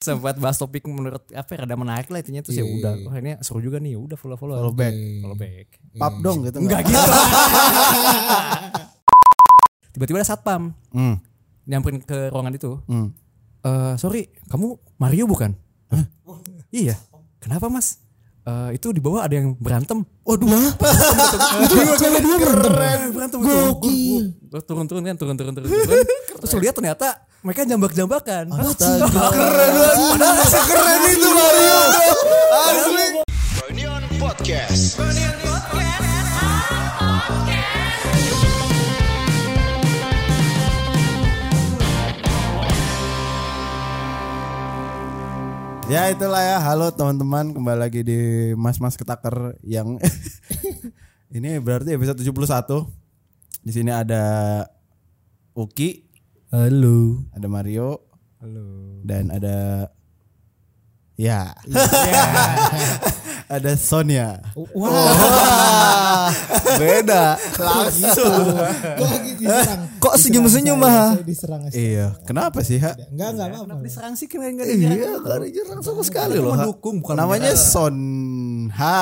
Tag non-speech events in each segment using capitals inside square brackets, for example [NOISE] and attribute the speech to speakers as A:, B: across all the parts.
A: sempat bahas topik menurut apa ya, rada menarik lah intinya terus ya
B: Iya.
A: udah wah ini seru juga nih ya udah follow follow
C: Follow back.
A: follow back
C: Pap dong gitu.
A: enggak gitu tiba-tiba ada satpam
C: Hmm.
A: nyamperin ke ruangan itu
C: Hmm.
A: Eh sorry kamu Mario bukan [LAUGHS] iya kenapa mas Eh itu di bawah ada yang berantem
C: [LAUGHS]
B: Waduh, hah? cewek dia berantem.
A: Keren, berantem itu. Gua- gua- gua turun-turun kan, turun-turun-turun. turun. Terus lu lihat ternyata mereka jambak-jambakan. [LAUGHS] Keren
B: Sekeren itu Mario.
D: Reunion Podcast.
C: Ya itulah ya. Halo teman-teman, kembali lagi di Mas Mas Ketaker yang [LAUGHS] ini berarti episode 71. Di sini ada Uki,
B: Halo.
C: ada Mario, dan ada ya.
B: Iya.
C: [LAUGHS] ada Sonia.
B: Oh,
C: [LAUGHS] Beda. Langsung.
B: Kok diserang?
E: Kok senyum-senyum,
B: Diserang saya,
E: ah?
B: saya Diserang aja.
C: iya, kenapa sih, Ha?
B: Enggak, enggak apa-apa.
A: Diserang sih keren enggak
C: Iya, gak ada jarang sama sekali
A: Itu
C: loh. Ha.
A: mendukung, bukan
C: Namanya Son Ha.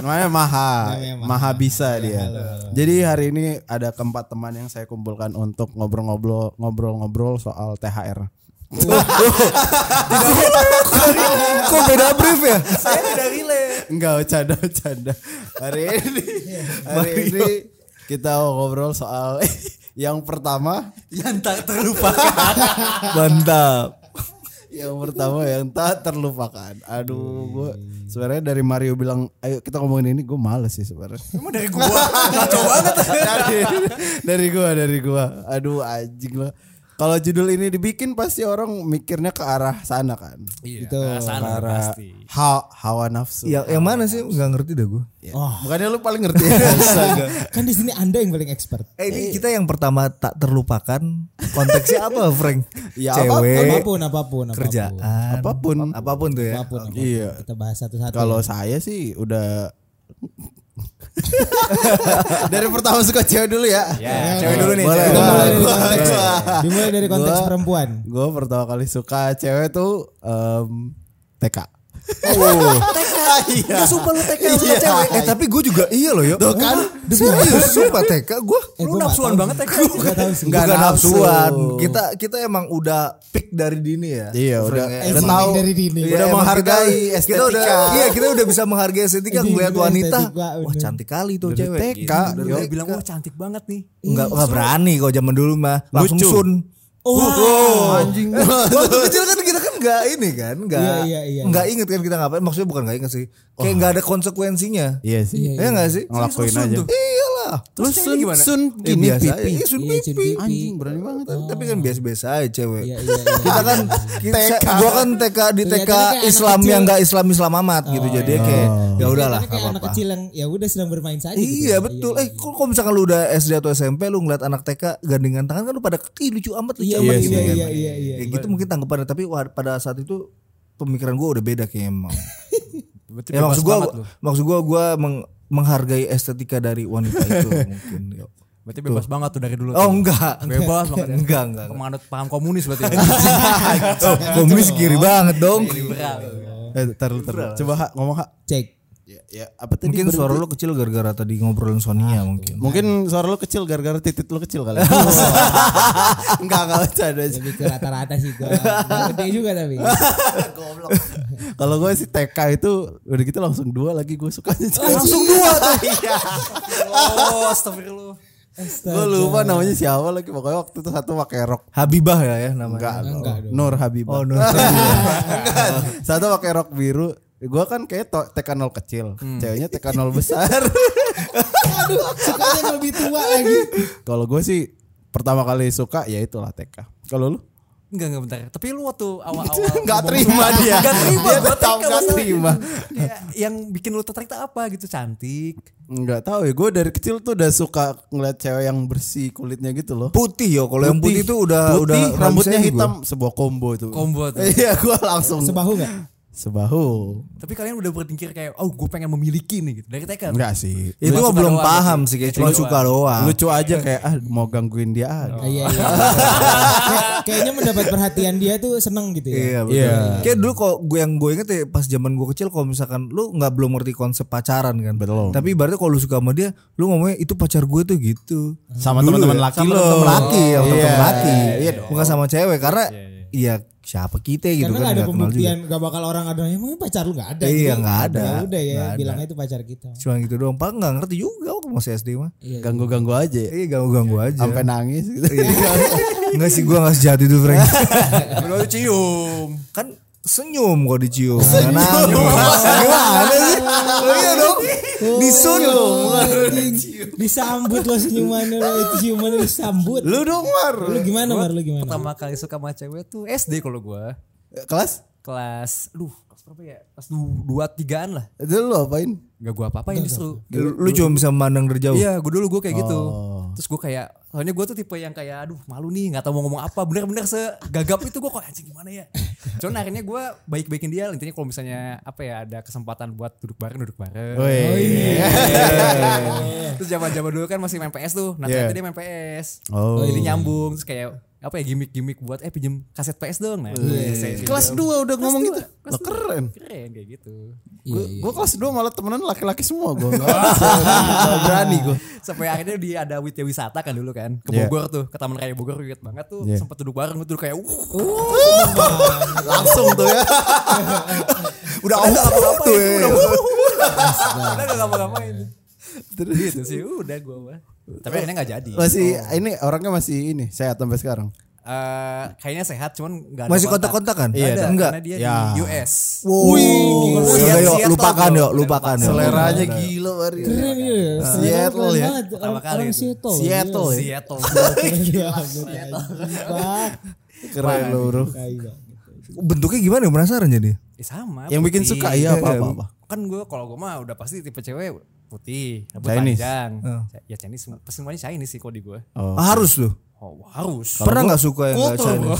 C: Namanya Maha.
B: Namanya Maha.
C: Maha bisa dia.
B: halo,
C: Jadi hari ini ada keempat teman yang saya kumpulkan untuk ngobrol-ngobrol ngobrol-ngobrol soal THR.
E: Kok beda brief ya?
A: Saya tidak relate.
C: Enggak, canda canda. Hari ini hari ini kita mau ngobrol soal [LAUGHS] yang pertama
A: Yang tak
C: [LAUGHS]
A: terlupakan.
E: Mantap.
C: yang pertama yang tak terlupakan. Aduh, gue sebenarnya dari Mario bilang ayo kita ngomongin ini gue males sih sebenarnya.
A: Cuma dari gua kacau banget.
C: dari, dari gua dari gua aduh anjing lah kalau judul ini dibikin pasti orang mikirnya ke arah sana kan
A: Iya,
B: Itu
C: ke
A: sana
C: arah
A: pasti.
C: ha- hawa nafsu
E: Ya, yang mana sih? Enggak ngerti dah gue.
C: Ya. bukannya lu paling [LAUGHS] ngerti
B: Kan di sini Anda yang paling expert.
E: Eh, ini kita yang pertama tak terlupakan. Konteksnya apa, Frank?
C: Ya,
E: Cewek,
B: Apapun, apapun, apapun.
E: kerjaan,
C: Apapun.
E: apapun tuh ya.
B: Apapun, apapun.
C: Iya.
B: Kita bahas satu-satu.
C: kalau saya sih udah [LAUGHS] dari pertama suka cewek dulu ya
A: Ya, cewek dulu nih.
C: Boleh,
A: cewek
B: Kita
A: dulu.
B: mulai dari
C: Wah,
B: konteks,
C: wah.
B: dimulai dari konteks
C: Gua-
B: perempuan.
C: gue pertama kali suka cewek tuh em, TK Oh.
E: [LAUGHS]
C: Iya.
E: Enggak sumpah lu TK sama cewek. Eh, tapi gue juga iya loh, yo. Tuh kan. Serius, sumpah TK gue.
B: Eh,
A: Lu
B: gua nggak
A: nafsuan
B: tahu
A: banget
B: sih.
A: ya.
B: Gua tahu sih.
C: Nggak
E: Bukan
C: nafsu.
E: nafsuan. Kita kita emang udah pick dari dini ya.
C: Iya,
E: Frank,
C: udah-
E: ya.
C: udah
B: Emang
C: tahu.
B: dari dini.
C: Iya, Udah
E: emang
C: menghargai
E: kita-
C: estetika.
E: Kita udah, iya kita udah bisa menghargai estetika
B: Iya,
E: ngeliat
B: iya,
E: wanita.
B: estetika,
E: Wah
B: bener.
E: cantik kali tuh cewek.
C: TK,
E: Gitu,
C: yo.
E: dari
A: Ah, Dia bilang wah cantik banget nih.
E: Enggak enggak berani kalau zaman dulu mah langsung
C: Lucu.
E: sun.
B: Oh,
C: anjing
E: [LAUGHS] Waktu
B: [LAUGHS]
E: kecil kan kita kan enggak ini kan,
B: Iya,
E: enggak
B: iya, iya.
E: enggak inget kan kita ngapain. Maksudnya bukan enggak inget sih. Kayak enggak ada konsekuensinya.
C: Oh. iya sih
E: Ya enggak sih?
C: Ngelakuin aja. Eh,
E: Iyalah.
A: Terus ceweknya gimana?
E: Eh,
C: gini
E: biasa
C: pipi. Eh,
E: aja.
B: Iya,
E: Iya, sun
B: sun
E: pipi.
B: pipi.
C: Anjing berani banget.
E: Tapi kan biasa-biasa aja cewek.
B: Iya, iya,
E: [LAUGHS]
B: iya.
E: Kita kan kita,
C: TK.
E: gua kan TK di
B: Kelihatannya
E: TK
B: Iya, kayak anak
E: Islam yang
B: kecil.
E: enggak Islam Islam amat gitu. Jadi kayak ya
B: kan Kayak
E: udahlah enggak
B: anak
E: apa-apa.
B: kecil yang ya udah sedang bermain saja. gitu
E: Iya
B: ya.
E: betul. Eh kok kalau misalkan lu udah SD atau SMP lu ngeliat anak TK gandengan tangan kan lu pada "Ih, lucu amat lucu
B: Iya,
E: amat
B: iya,
E: gitu
B: iya,
E: kan.
B: iya, iya, iya.
E: Kayak gitu mungkin tanggapannya tapi wah, pada saat itu pemikiran gua udah beda kayaknya
B: [LAUGHS]
E: emang.
A: Berarti
E: ya maksud
A: bebas
E: gua
A: banget lu.
E: maksud gua gua meng- menghargai estetika dari wanita
B: [LAUGHS]
E: itu mungkin. Yo.
A: Berarti bebas banget tuh dari dulu.
E: Oh
A: tuh.
E: enggak.
A: Bebas banget. ya.
E: Enggak, enggak. enggak.
A: Penganut paham komunis berarti. ya? Liberal.
E: Oh, Komunis kiri banget dong.
C: Eh, taruh, taruh. Coba ha, ngomong ha.
B: Cek.
C: Ya, ya, apa tadi?
E: Mungkin
C: Berhenti.
E: suara lu kecil gara-gara tadi ngobrolin Sonia mungkin.
C: Mungkin suara lu kecil gara-gara titik lu kecil [LAUGHS] kali. ya. Enggak enggak bercanda. sih.
B: Lebih ke rata-rata sih gua. Nggak Gede juga
E: [LAUGHS]
B: tapi.
C: Kalau gue sih TK itu udah gitu langsung dua lagi Iya. gue sukanya.
E: Langsung dua
C: [LAUGHS]
E: tuh.
A: Oh, astagfirullah.
C: gue lupa namanya siapa lagi pokoknya waktu itu satu pakai rok
E: Habibah ya ya namanya.
C: enggak, dong. Nur Habibah.
E: Oh, Nur.
C: [LAUGHS] Enggak. Satu pakai rok biru. Gue kan kayak to- TK 0 kecil, ceweknya TK 0 besar. [LAUGHS]
B: Aduh, sukanya yang lebih tua lagi.
C: Kalau gue sih pertama kali suka ya itulah TK. Kalau lu
A: Enggak enggak bentar. Tapi lu waktu awal-awal
C: nggak
A: ngomong-
C: terima dia.
A: Nggak terima,
C: Dia
A: gua
C: tetap
A: TK
C: nggak
A: maksudnya.
C: terima.
A: Ya, yang bikin lu tertarik tuh apa gitu cantik.
C: Nggak tahu ya. Gue dari kecil tuh udah suka ngeliat cewek yang bersih kulitnya gitu loh.
E: Putih yo, kalau yang putih itu udah
C: Putih,
E: udah
C: rambutnya
E: Ramsey gua.
C: hitam sebuah combo itu.
A: Combo tuh.
C: Iya, gue langsung
B: Sebahu nggak?
C: Sebahu.
A: Tapi kalian udah berpikir kayak, oh gue pengen memiliki nih gitu. Dari TK.
C: Enggak sih.
E: Itu
A: Cuma
E: mah
A: suka
E: belum
A: doang
E: paham
A: sih.
E: sih, kayak
A: Kayak
E: cuma
A: doang.
E: suka doang. Iya,
C: Lucu aja kayak ah mau gangguin dia. ah, gitu.
B: Ah, Iya iya. Kayak- Kayaknya mendapat perhatian dia tuh seneng gitu ya.
E: Iya betul.
C: Iya.
E: Kayak dulu kok gue yang gue inget ya pas zaman gue kecil kalau misalkan lu nggak belum ngerti konsep pacaran kan.
C: Belum.
E: Tapi ibaratnya kalau lu suka sama dia, lu ngomongnya itu pacar gue tuh gitu.
C: Sama
E: Dulu
C: teman-teman
E: ya,
C: laki
E: sama
C: lo.
E: teman laki,
C: Iya.
E: sama teman laki. Iya, bukan sama cewek karena iya siapa kita gitu
B: Karena nggak ada
E: kan nggak kenal juga.
B: pembuktian, gak bakal orang ada emangnya pacar lu gak ada.
E: Iya,
B: Jadi,
E: nggak ada.
B: ya Udah ya,
E: Nggak ada.
B: bilangnya itu pacar kita.
E: Cuma gitu doang, pak nggak ngerti juga waktu masih SD mah.
C: Ganggu-ganggu aja.
E: Iya ganggu-ganggu aja.
C: Sampai nangis gitu.
E: Enggak sih gue gak sejati tuh Frank Kalau cium Kan senyum kalau dicium Senyum Gimana sih Oh iya dong Disun lo
B: disambut lo senyumannya lo itu ciuman lo disambut.
E: Lu dong Mar
B: Lu gimana Mar lu gimana?
A: Pertama kali suka sama cewek tuh SD kalau gue.
C: [LAUGHS] Kelas?
A: Kelas, aduh kelas berapa ya? Kelas du- dua tigaan lah.
C: Itu lu apain?
A: Gak gue apa-apain justru.
E: Lu lu cuma bisa memandang dari jauh
A: Iya, gue dulu gue kayak gitu. Terus gue kayak, soalnya gue tuh tipe yang kayak, aduh malu nih, nggak tahu mau ngomong apa. Bener-bener segagap itu gue kok anjing gimana ya. Cuman akhirnya gue baik-baikin dia. Intinya kalau misalnya apa ya ada kesempatan buat duduk bareng, duduk
C: Oh, iya,
A: bareng.
C: Woi.
A: Terus zaman-zaman dulu kan masih main PS tuh. Nah
C: Iya.
A: ternyata dia main PS.
C: Oh.
A: Jadi nyambung. Terus kayak apa ya gimmick-gimmick buat eh pinjem kaset PS dong. Nah, Saya-
C: Eh, Kelas 2 udah ngomong gitu.
A: Kelas
C: Lah keren.
A: keren kayak gitu.
C: Gue kelas 2 malah temenan laki-laki semua [LAUGHS] gue. Gak berani gue.
A: Sampai akhirnya dia ada Widya Wisata kan dulu kan. Ke
C: Iya.
A: Bogor tuh, ke Taman Raya Bogor gue inget banget tuh.
C: Iya. Oh,
A: Sempat duduk bareng tuh kayak uh,
C: Langsung tuh [LAUGHS] ya.
E: Udah oh apa-apa tuh ya.
A: Udah gak ngapa-ngapain. Terus gitu sih, udah gue mah. Tapi akhirnya gak jadi.
C: Masih ah, ini orangnya masih ini sehat sampai sekarang.
A: Eh, kayaknya sehat cuman gak ada
E: Masih kontak-kontakan
A: Iya, ada,
E: Enggak
A: karena dia
C: kan? Ya.
A: di US.
E: Wih,
A: gimana?
E: udah Oh, yuk,
A: Siap-siap
E: lupakan
A: dong.
E: yuk, lupakan yuk.
C: Seleranya gila Mari.
B: Keren ya.
C: Seattle ya.
A: Pertama
B: Pertama
A: kali
B: kali.
A: itu.
B: Seattle.
C: Seattle ya.
A: Seattle.
B: Gila, anjing, Pak.
C: Keren lu, Bro.
B: Tai banget.
E: bentuknya gimana ya, penasaran jadi?
A: Eh, sama.
C: Yang bikin
A: putih.
C: suka iya apa apa. apa.
A: Kan gue kalau gue mah udah pasti tipe cewek putih, rambut
C: Chinese.
A: panjang. Ya Chinese, semua- semuanya Chinese sih kalau di gue.
C: Oh.
E: Ah, harus tuh.
A: Oh, harus.
E: Pernah nggak suka yang nggak
A: Kultur,
E: Chinese?
A: bro.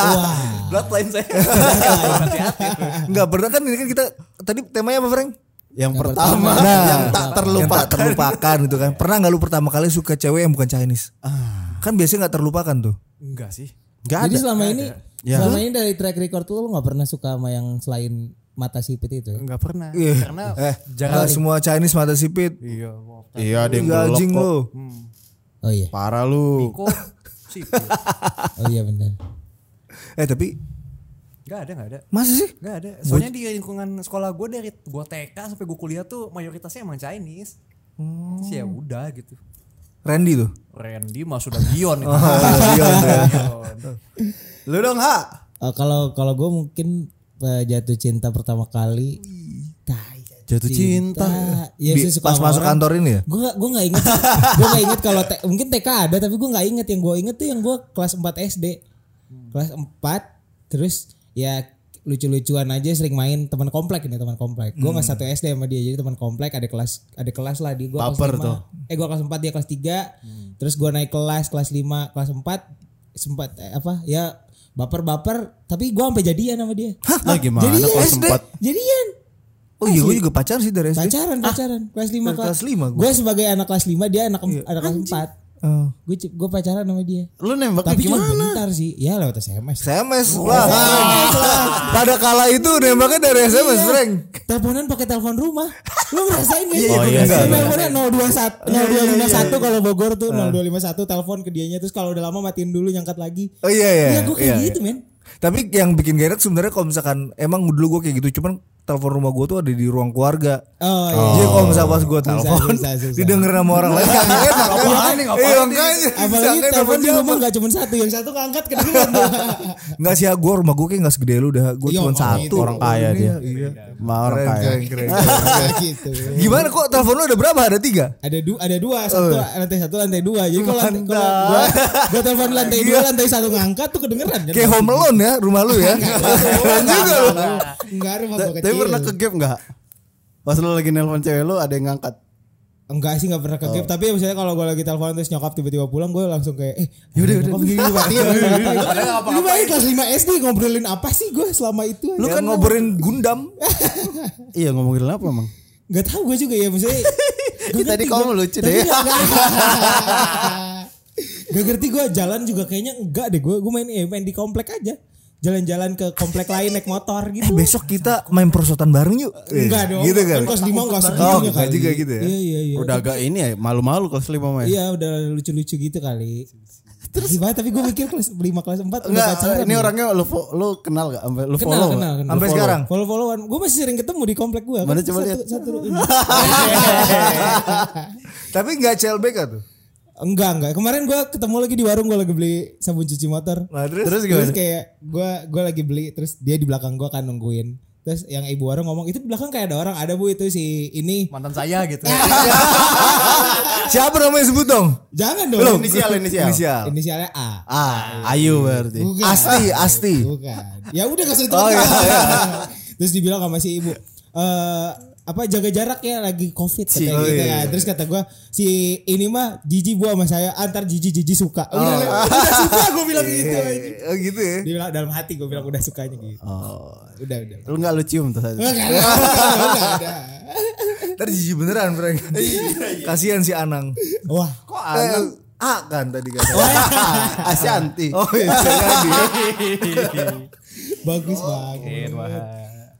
B: Wah.
A: Bloodline saya. [LAUGHS] Hati-hati.
E: [LAUGHS] Nggak pernah kan ini kan kita tadi temanya apa Frank? Nah,
C: Yang pertama yang tak
E: Yang tak
C: terlupakan.
E: terlupakan gitu kan. Pernah nggak lu pertama kali suka cewek yang bukan Chinese?
C: Ah.
E: Kan biasanya nggak terlupakan tuh.
A: Enggak sih.
C: Enggak
B: Jadi
C: ada.
B: selama ini selama ini dari track record lu lu gak pernah suka sama yang selain mata sipit itu ya?
A: Enggak pernah. Karena
E: Eh,
A: jarang.
E: nggak semua Chinese mata sipit.
A: Iya.
C: Iya ada yang
E: Iya
C: belok
E: anjing
C: kok. Hmm.
E: lu.
B: Oh iya.
C: Parah lu.
A: Kok sipit?
B: Oh iya benar.
E: Eh tapi
A: Enggak ada, enggak ada.
E: masih sih?
A: Enggak ada. Soalnya di lingkungan sekolah gue dari gue TK sampai gue kuliah tuh mayoritasnya emang Chinese. Terus ya udah gitu.
E: Randy tuh.
A: Randy mah sudah Gion itu.
E: Oh.
B: Ah. [LAUGHS]
A: Gion.
C: Lu dong, Ha.
B: Eh, kalau kalau gue mungkin eh, jatuh cinta pertama kali. Tai,
C: Jatuh cinta.
B: Iya
E: Di-
B: sih suka
E: pas masuk kantor ini ya?
B: Gue gak, gue gak inget Gue gak inget kalau te- Mungkin TK ada Tapi gue gak inget Yang gue inget tuh yang gue kelas 4 SD Kelas 4 Terus ya lucu-lucuan aja sering main teman komplek ini teman komplek gue nggak satu SD sama dia jadi teman komplek ada kelas ada kelas lah di gue kelas
C: Baper
B: lima.
C: tuh.
B: eh gue kelas 4 dia kelas 3 terus gue naik kelas kelas 5 kelas 4 sempat eh, apa ya baper-baper tapi gue sampai jadian sama dia
C: Lah gimana
B: Jadian.
C: kalau sempat
B: jadian
E: Oh iya gue juga pacar sih dari SD.
B: pacaran pacaran kelas 5
E: Ah, dari kelas lima gua. Iya.
B: gue sebagai anak kelas 5 dia anak anak kelas 4
E: Eh,
B: gue gue pacaran sama dia
C: lu nembaknya
B: tapi cuma
C: gimana?
B: bentar sih ya lewat sms
E: SMS
B: Oh.
E: lah. Pada kala itu nembaknya dari SMS
B: Iya.
E: Frank.
B: teleponan pakai telepon rumah lu ngerasain gak sih
C: Oh, iya,
B: Lu
C: iya.
B: teleponnya 021
E: Iya,
B: 0251 kalau Bogor
E: Ah.
B: tuh 0251 telepon ke dianya terus kalau udah lama matiin dulu nyangkat lagi
E: Oh iya iya.
B: iya gue kayak
E: iya,
B: gitu men
E: Tapi yang bikin gak enak sebenarnya kalau misalkan emang dulu gue kayak gitu cuman telepon rumah gue tuh ada di ruang keluarga.
B: oh iya
E: Jadi kalau misalkan pas gue telepon
B: susah, susah.
E: didengar sama orang lain
B: [LAUGHS]
E: gak enak.
A: Apaan nih, ngapain
E: Iya
A: nih?
E: makanya.
B: Apalagi
E: Disangkanya
B: telepon di rumah
E: jaman.
B: gak cuma satu Yang satu ngangkat
E: [LAUGHS]
B: Iya, kedengeran tuh.
E: Enggak sih, gue rumah gue kayak gak segede lu dah. Gue
B: Iya,
E: cuma
B: orang
E: satu.
B: itu.
C: Orang kaya
E: Iya,
C: dia.
E: Iya.
C: Sama orang
E: Keren,
C: kaya.
E: keren, keren.
B: gitu
E: Gimana kok telepon lu ada berapa? Ada tiga?
B: ada dua ada dua
E: Eh.
B: satu lantai satu lantai dua jadi kalau lantai- kalau
E: Mantap.
B: gua gua telepon lantai dua lantai satu ngangkat tuh kedengeran kan
E: Iya. Kayak home alone ya rumah lu ya. Keren juga lu.
B: enggak rumah gua
C: Ta- Tapi
E: Nah,
B: kecil
C: pernah ke gap enggak? Pas lu lagi nelpon cewek lu ada yang ngangkat.
B: Enggak sih enggak pernah
E: Oh.
B: ke gap tapi misalnya kalau gue lagi teleponan terus nyokap tiba-tiba pulang gue langsung kayak eh
E: Ya
B: yaudah udah gini gini
E: [LAUGHS]
B: Pak." Lu bayangin kelas 5 SD ngobrolin apa sih gue selama itu?
E: Lu kan ngobrolin Gundam. Eh,
C: Iya ngomongin apa emang?
B: Enggak tahu gue juga ya
E: [LAUGHS]
B: misalnya.
E: Ih, tadi kamu lucu deh. [LAUGHS]
B: Gak ngerti gue jalan juga kayaknya enggak deh gue gue main eh, main di komplek aja jalan-jalan ke komplek lain naik motor gitu.
E: Eh besok kita main perosotan bareng yuk. Eh,
B: Enggak dong.
E: Gitu kan.
B: Kan kelas lima enggak
E: Oh,
B: segitunya
E: enggak
B: kali.
E: juga gitu ya.
B: Iya iya iya.
C: Udah agak ini ya malu-malu kelas lima mah. ya.
B: Iya udah lucu-lucu gitu kali. Terus banget tapi gue mikir kelas 5 kelas 4
C: Enggak, ini orangnya lu fo- lu kenal gak? Sampai lu
B: ya? Kenal,
C: follow nggak?
B: kenal, kenal.
C: Lu
E: Sampai
C: follow.
E: sekarang.
B: Follow-followan. Gue masih sering ketemu di komplek gue.
C: Mana coba lihat.
B: Satu, ini.
E: Tapi enggak CLBK tuh.
B: enggak, enggak. Kemarin gue ketemu lagi di warung gue lagi beli sabun cuci motor.
E: Nah, terus,
C: Terus gimana?
B: Terus kayak gue gua lagi beli terus dia di belakang gue kan nungguin. Terus yang ibu warung ngomong itu di belakang kayak ada orang ada bu itu si ini.
A: mantan saya gitu
E: siapa namanya sebut dong?
B: Jangan dong.
C: Belum, inisial, inisial.
E: Inisial.
B: Inisialnya A.
C: Ah, Ayu berarti.
B: Bukan.
E: Asti, Asti.
B: Bukan. Ya udah kasih itu.
E: Oh, iya, iya.
B: Terus dibilang sama si ibu, eh apa jaga jarak ya lagi covid
E: Si-
B: katanya
E: oh,
B: gitu
E: iya.
B: kan. Terus kata gua si ini mah jijik bu sama saya antar jijik jijik suka. Udah, udah suka gue bilang gitu. anjing.
E: Oh gitu ya.
B: Dibilang dalam hati gue bilang udah sukanya gitu. Udah udah.
C: Oh. Lu enggak lu cium tuh [LAUGHS] tadi.
B: Enggak, enggak, enggak, enggak.
E: Ntar jijik beneran Frank. Kasihan si Anang.
B: Wah.
E: Iya, Kok Anang? A kan tadi kan.
C: Ah, Asyanti.
E: Oh iya. jadi.
B: Bagus
A: Mungkin,
B: banget.
A: wah.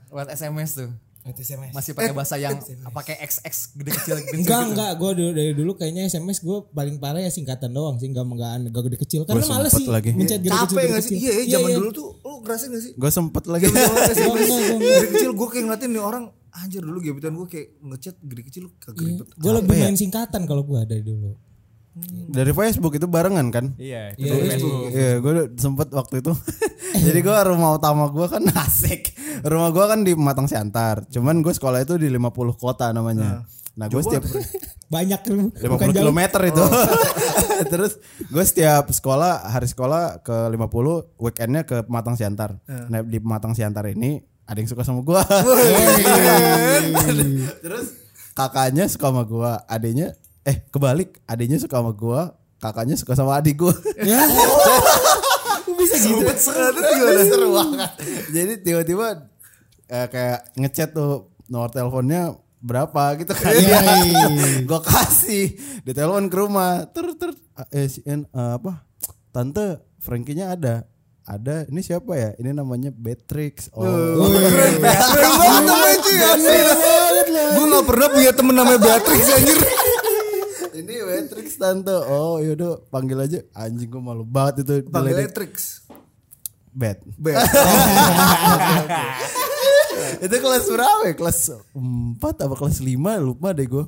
A: Lewat SMS tuh masih pakai bahasa yang pakai XX gede kecil gede kecil
B: Enggak
A: gitu.
B: enggak gue dari, dari dulu kayaknya SMS gue paling parah ya singkatan doang sih enggak enggak enggak gede kecil karena
C: Gua
B: males
C: sempet
B: sih
C: lagi.
B: mencet gede kecil
E: Capek
B: gede
E: gak
B: kecil.
E: sih? Iya, iya,
B: Iya,
E: zaman
B: iya.
E: dulu tuh lu ngerasain gak sih?
C: Gue sempet
B: [LAUGHS]
C: lagi.
E: Gitu. Iya,
B: Enggak, enggak, enggak, enggak.
E: Dari kecil gue kayak ngeliatin nih orang anjir dulu gebetan gue kayak ngechat gede kecil kagak ribet.
B: Gue lebih
C: ya?
B: main singkatan kalau gue dari dulu.
C: Dari Facebook itu barengan kan?
A: iya itu
B: Iya,
A: tuh
B: iya,
A: Facebook.
C: Iya, gue sempet waktu itu. [LAUGHS] Jadi gue rumah utama gue kan [LAUGHS] asik. Rumah gue kan di Matang Siantar. Cuman gue sekolah itu di 50 kota namanya. Nah gue setiap [LAUGHS]
B: Banyak lu.
C: 50
B: [LAUGHS] jauh. Oh.
C: km itu. [LAUGHS] Terus gue setiap sekolah hari sekolah ke 50 weekendnya ke Matang Siantar. Nah di Matang Siantar ini ada yang suka sama gue. [LAUGHS] Terus kakaknya suka sama gue, adiknya eh kebalik, adiknya suka sama gue, kakaknya suka sama adik [LAUGHS] gue.
B: Ya. bisa gitu.
C: Terus seru banget. Jadi tiba-tiba eh, kayak ngechat tuh nomor teleponnya berapa gitu kan ya. [LAUGHS] gue kasih ditelepon ke rumah ter ter eh, si- en- eh, apa tante Frankie-nya ada ada ini siapa ya ini namanya Beatrix oh
E: Keren banget namanya cuy. asli. Gue gak pernah punya temen namanya Beatrix anjir.
C: [LAUGHS] ini Beatrix tante oh yaudah panggil aja anjing gue malu banget itu
E: Panggilnya Trix.
C: Bet [LAUGHS]
E: Bet.
C: itu kelas berapa ya? Kelas 4 apa kelas 5 lupa deh gue.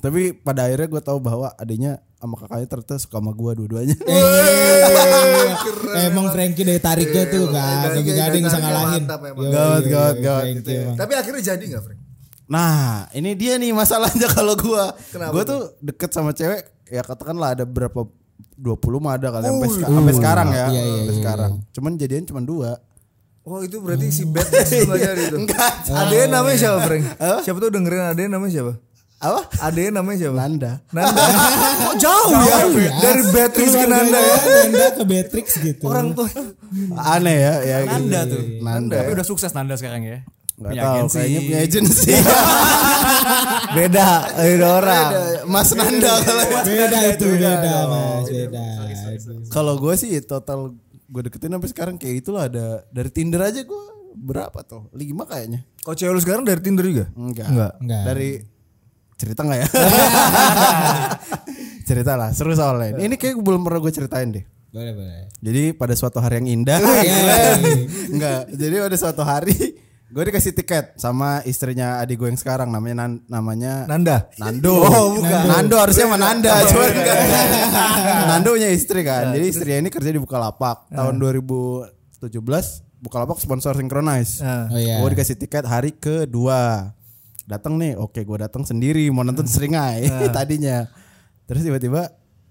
C: Tapi pada akhirnya gue tahu bahwa adanya sama kakaknya ternyata suka sama gue dua-duanya.
B: Emang Frankie dari tarik gue tuh gak gak ada yang
E: Frankie Iya, dari
B: bisa
E: tariknya
B: ngalahin.
E: mantap emang.
C: Gawat,
B: Yoi, yoi,
C: gawat,
B: yoi,
C: gawat
B: Frankie
C: gitu ya.
B: emang.
E: Tapi akhirnya jadi gak Frank?
C: [LAUGHS] Nah ini dia nih masalahnya kalau gue.
E: Kenapa
C: Gue tuh deket sama cewek ya katakanlah ada berapa 20 mah ada kali sampai, seka- sampai sekarang ya.
B: Iya, iya,
C: sampai
B: iya,
C: sekarang. Cuman jadian cuma dua.
E: Oh itu berarti si Beatrix itu belajar itu. [LAUGHS] Enggak. Adanya namanya siapa Frank? Siapa tuh dengerin adanya namanya siapa?
C: Apa?
E: Adanya namanya siapa?
C: Nanda.
E: [LAUGHS] Nanda. Kok jauh, ya? Dari Beatrix ke
B: Keluarganya
E: Nanda ya.
B: Nanda ke Beatrix gitu.
E: Orang tuh.
C: Aneh ya. ya gitu.
A: Nanda tuh.
C: Nanda.
A: tapi udah sukses Nanda sekarang ya
C: Gak
A: Punya
C: tahu
A: agensi.
C: kayaknya punya agensi.
E: Beda. Beda orang.
C: Mas Nanda kalau ya.
B: Beda itu beda mas beda.
C: Kalau gue sih total gue deketin sampai sekarang kayak itulah ada dari Tinder aja gue berapa tuh? Lima kayaknya.
E: Kok cewek lu sekarang dari Tinder juga?
C: Enggak.
B: Enggak.
C: Dari cerita nggak ya? cerita lah, seru soalnya. Ini kayak belum pernah gue ceritain deh.
B: Boleh boleh.
C: Jadi pada suatu hari yang indah, [LAUGHS] enggak. Jadi pada suatu hari gue dikasih tiket sama istrinya adik gue yang sekarang namanya Nan- namanya
E: Nanda.
C: Nando. Oh, bukan. Nando harusnya sama Nanda, cuman enggak. Nando Ah. punya istri kan. Jadi istrinya ini kerja di Bukalapak. Tahun 2017 Bukalapak sponsor Synchronize.
E: Nah.
B: Oh iya.
C: Gue dikasih tiket hari kedua. Datang nih, oke gue datang sendiri mau nonton Seringai [LAUGHS] tadinya. Terus tiba-tiba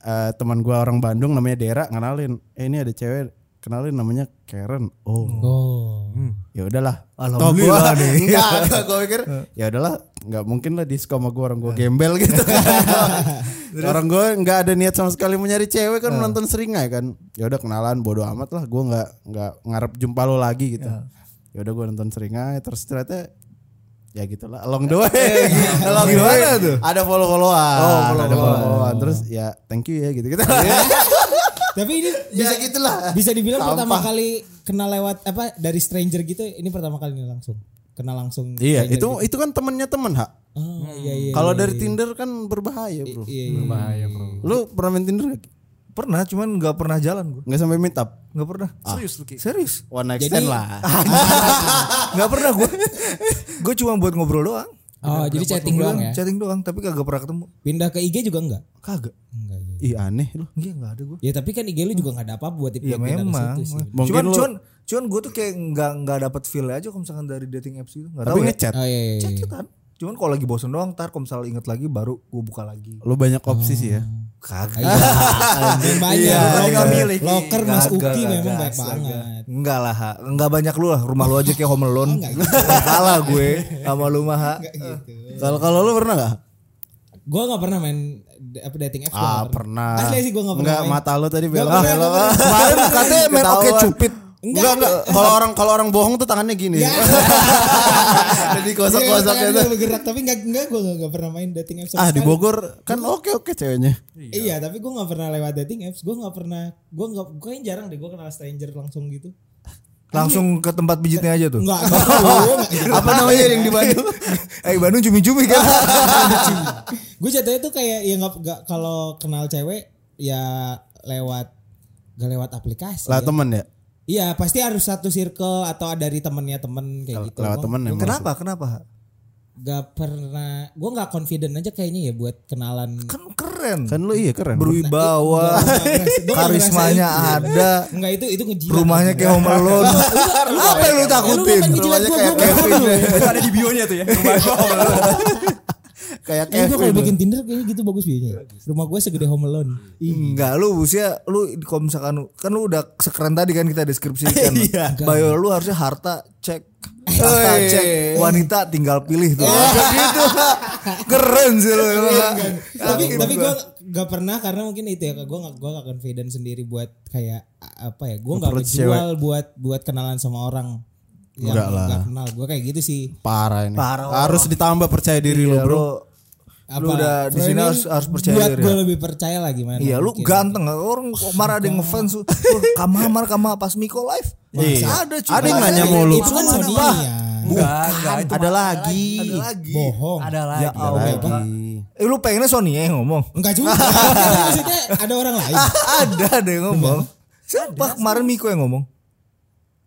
C: eh, teman gue orang Bandung namanya Dera ngenalin, eh ini ada cewek kenalin namanya Karen. Oh.
B: Oh.
C: Ya ya udahlah Toh gua-
E: Alhamdulillah nih.
C: [LAUGHS] enggak enggak
E: [LAUGHS]
C: gue pikir ya udahlah nggak mungkin lah disko sama gue
E: Nah.
C: orang gue gembel gitu
E: [LAUGHS]
C: orang gue nggak ada niat sama sekali mau nyari cewek
E: Nah.
C: kan nonton seringai kan ya udah kenalan bodo amat lah gue nggak nggak ngarep jumpa lo lagi gitu
E: Nah.
C: ya udah gue nonton seringai terus ternyata ya gitulah along the way [LAUGHS] along the way
E: Iya, Gimana tuh?
C: ada follow followan
E: Oh,
C: ada
E: follow-followan. Iya.
C: follow followan terus ya thank you ya gitu gitu [LAUGHS]
B: Tapi ini
C: ya
B: bisa
C: gitulah
B: bisa dibilang
C: Sampah.
B: pertama kali kenal lewat apa dari stranger gitu ini pertama kali nih langsung kenal langsung
C: Iya,
B: stranger
C: itu
B: gitu.
C: itu kan temennya temen hak.
B: oh, iya, iya,
C: Kalau
B: iya,
C: dari
B: iya.
C: Tinder kan berbahaya, Bro.
B: iya, iya.
A: Berbahaya bro.
C: Lu pernah main Tinder gak?
E: Pernah cuman nggak pernah jalan gue.
C: Nggak sampai meet up. Ah,
E: Nggak pernah.
A: Serius lu Ki?
E: Ah. Serius.
C: One night
B: Jadi-
C: stand lah.
E: Nggak pernah gue. gue cuma buat ngobrol doang.
B: oh jadi chatting
E: Ngobrol
B: doang ya
E: Chatting doang, tapi kagak pernah ketemu.
B: pindah ke IG juga enggak
E: Kagak.
B: enggak iya.
C: Ih aneh lu.
E: Iya nggak ada gue.
B: ya tapi kan IG lu juga nggak ada apa buat tipe
E: Iya memang.
C: Mungkin
E: cuman,
C: lu-
E: cuman cuman gue tuh kayak nggak nggak dapat feel aja kalau misalkan dari dating apps itu nggak
C: Tapi
E: tahu ya.
C: ngechat.
B: oh iya, iya, iya.
E: Chat-chatan. Cuman kalau lagi bosen doang ntar kalau misal inget lagi baru gue buka lagi.
C: Lu banyak opsi sih ya.
E: Kagak.
B: Iya,
C: [LAUGHS]
B: anjing, banyak
E: Iya,
B: loker,
E: nggak milih.
B: loker Mas
E: Kagak,
B: Uki
E: kagak,
B: memang baik
E: astaga.
B: banget Oh,
E: Enggak lah, Ha. enggak banyak lu lah. Rumah lu aja kayak home alone.
B: nggak gitu.
E: Kalah gue sama lu mah. Ha.
C: Kalau kalau lu pernah gak?
B: gue nggak pernah main d- apa dating apps gua
C: Ah,
B: nggak
C: pernah.
B: asli sih gue nggak pernah
C: Enggak,
B: main. [LAUGHS]
C: mata lu tadi
B: Nggak
C: belok.
B: pernah,
C: belok.
B: nggak pernah.
C: Kemarin [LAUGHS] katanya main oke
E: Ketahuan.
C: cupid. Enggak, enggak. Kalau orang kalau orang bohong tuh tangannya gini.
B: Ya.
C: Jadi [LAUGHS] gosok-gosok
B: Iya,
C: gitu.
B: tangan gua bergerak tapi nggak nggak gue nggak pernah main dating apps sama
C: Ah, di
B: sekali.
C: Bogor kan oke-oke ceweknya.
B: Iya, tapi gue nggak pernah lewat dating apps. Gue nggak pernah, gue nggak, gue kayaknya jarang deh gue kenal stranger langsung gitu.
E: Langsung ke tempat pijitnya aja tuh. [LAUGHS]
B: Enggak, enggak.
C: Apa namanya
B: iya,
C: yang di Bandung?
E: Eh Bandung cumi-cumi kan.
B: gue jatuhnya tuh kayak ya nggak, nggak kalau kenal cewek ya lewat gak lewat aplikasi.
C: Lah
B: ya.
C: temen ya?
B: Iya, pasti harus satu circle atau dari temennya temen kayak gitu.
C: Lewat
B: Gua
C: temen ya. maksud-
E: Kenapa? Kenapa? Ha?
B: Nggak pernah, gue nggak confident aja kayaknya ya buat
E: [LAUGHS]
B: kenalan.
E: Kan keren. Nah,
C: Kan lu iya keren.
E: Berwibawa. Karismanya ada.
B: Enggak ya. itu itu ngejilat.
E: Rumahnya kayak home alone. [LAUGHS] Apa yang lu takutin?
B: Lu kan ngejilat
C: Rumahnya
B: gue,
C: kayak
B: gue berharap lu.
A: Itu ada di bio-nya tuh ya.
C: Kayak
B: Eh, gue
C: Kevin.
B: kalau bikin Tinder kayaknya gitu bagus biayanya. Rumah gue segede Home Alone.
E: Enggak, lu usia lu kalau misalkan kan lu udah sekeren tadi kan kita [LAUGHS] deskripsikan.
C: Iya.
E: Bio lu harusnya harta cek, harta
C: Hei.
E: cek, wanita tinggal pilih [LAUGHS] tuh. gitu. Keren kan? sih lu. emang. gitu.
B: tapi
E: Iya,
B: tapi gue gak pernah karena mungkin itu ya gue gak gue gak confident sendiri buat kayak apa ya gue gak
C: Approach
B: menjual buat buat kenalan sama orang yang
C: Enggak lah.
B: gak kenal gue kayak gitu sih
C: Parah ini.
E: Parah.
C: Harus ditambah percaya diri lu,
E: Iya,
C: Bro.
E: lu, lu udah di sini
B: framing
E: harus, harus percaya
B: buat
E: diri.
B: gue
E: ya.
B: lebih percaya lah gimana
E: Iya, lu
B: mungkin.
E: ganteng orang marah ada yang ngefans lu. Wah, Kamar kamar pas Miko live.
C: Iya.
E: Ada cuy.
C: Ada yang
E: Ada
C: nanya
E: yang-
C: mulu.
B: itu kan
E: Mana,
B: Sonia
E: Pak?
A: Enggak, enggak. itu
C: Ada
A: mah-
C: lagi.
E: Ada lagi.
B: bohong
A: Ada lagi.
E: Ya
C: Ada
E: Allah.
C: lagi.
E: Eh lu pengennya Sony yang ngomong.
B: enggak
E: [LAUGHS]
B: juga Tapi maksudnya ada orang lain
E: ada ada yang ngomong. Siapa kemarin Miko yang ngomong?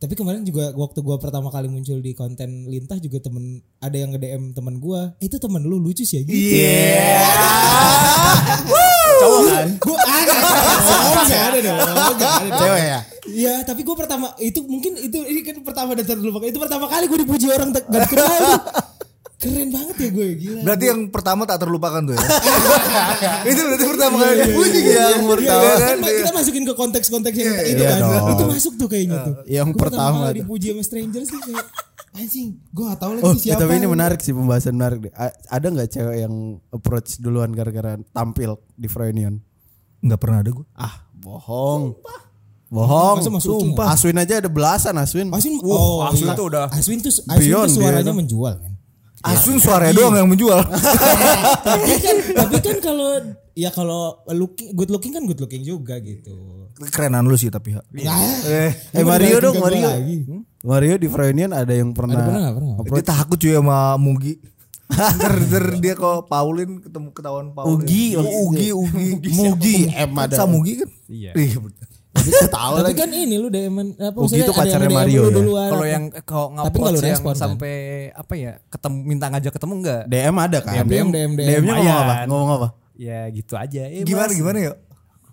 B: tapi kemarin juga waktu gue pertama kali muncul di konten lintah juga temen ada yang nge DM temen gue eh, itu temen lu lucu sih ya gitu
C: Iya.
B: [LAUGHS]
A: Cowok kan.
B: Gue ada, seorang gak ada dong, gak ada dong.
C: Cewek ya?
B: Iya, tapi gue pertama itu mungkin itu ini kan pertama dan terlupakan. Itu pertama kali gue dipuji orang te- gak kenal. Keren banget ya gue, gila.
E: Berarti yang pertama tak terlupakan tuh ya. itu berarti pertama kali
B: Iya,
E: dipuji
B: iya,
E: ya.
B: iya,
E: pertama
B: iya,
E: kan.
B: kan kita masukin ke konteks-konteks yang itu
C: iya
B: kan.
C: dong. Iya,
B: Itu masuk tuh kayaknya tuh.
C: Yang
B: Gua
C: pertama
B: kali
C: tuh.
B: dipuji sama stranger sih kayak anjing, gue gak tahu lagi
C: Oh, ya,
B: siapa.
C: tapi ini menarik sih pembahasan menarik. deh. A- Ada nggak cewek yang approach duluan gara-gara tampil di Froynion?
E: Enggak pernah ada gue.
C: Ah, bohong. Bohong.
B: Masa Mas Uki
C: Sumpah. Aswin aja ada belasan Aswin.
B: Aswin,
A: Wah, Aswin
B: iya.
A: tuh udah
B: Aswin tuh Aswin
C: beyond
B: tuh
C: dia
B: suaranya
C: tuh.
B: menjual kan.
E: Asun suaranya doang yang menjual.
B: tapi kan tapi kan kalau ya kalau looking good looking kan good looking juga gitu.
E: Kerenan lu sih tapi. Ha.
B: Nah,
E: Eh,
C: eh
B: Lu
C: Mario
B: berarti
C: dong,
B: gak
C: Mario.
B: gua lagi.
C: Hmm? Mario di Froynion ada yang pernah.
B: pernah nggak? Pernah nggak?
E: dia takut cuy sama Mugi. Ntar, ntar dia kok Paulin ketemu ketahuan Paulin.
C: Ugi,
E: Oh, Ugi, Ugi,
C: Mugi, M ada.
E: Sama Mugi kan?
A: Iya.
E: Ih, bener.
C: tahu
B: Tapi
C: lagi.
B: kan ini lu DM apa
C: Oh,
B: maksudnya
C: gitu
B: ada yang
C: pacarnya
B: DM
C: Mario
B: lu
C: ya?
B: duluan.
A: Kalau yang kalau
B: Tapi nggak lu
A: ngapot yang
B: respon, kan?
A: sampai apa ya ketemu minta ngajak ketemu enggak?
C: DM ada kan?
B: DM DM DM.
C: DM-nya ngomong apa?
A: Lumayan. Hmm.
C: Ngomong apa?
A: Ya gitu aja. Eh,
E: Gimana
A: Mas,
E: gimana ya?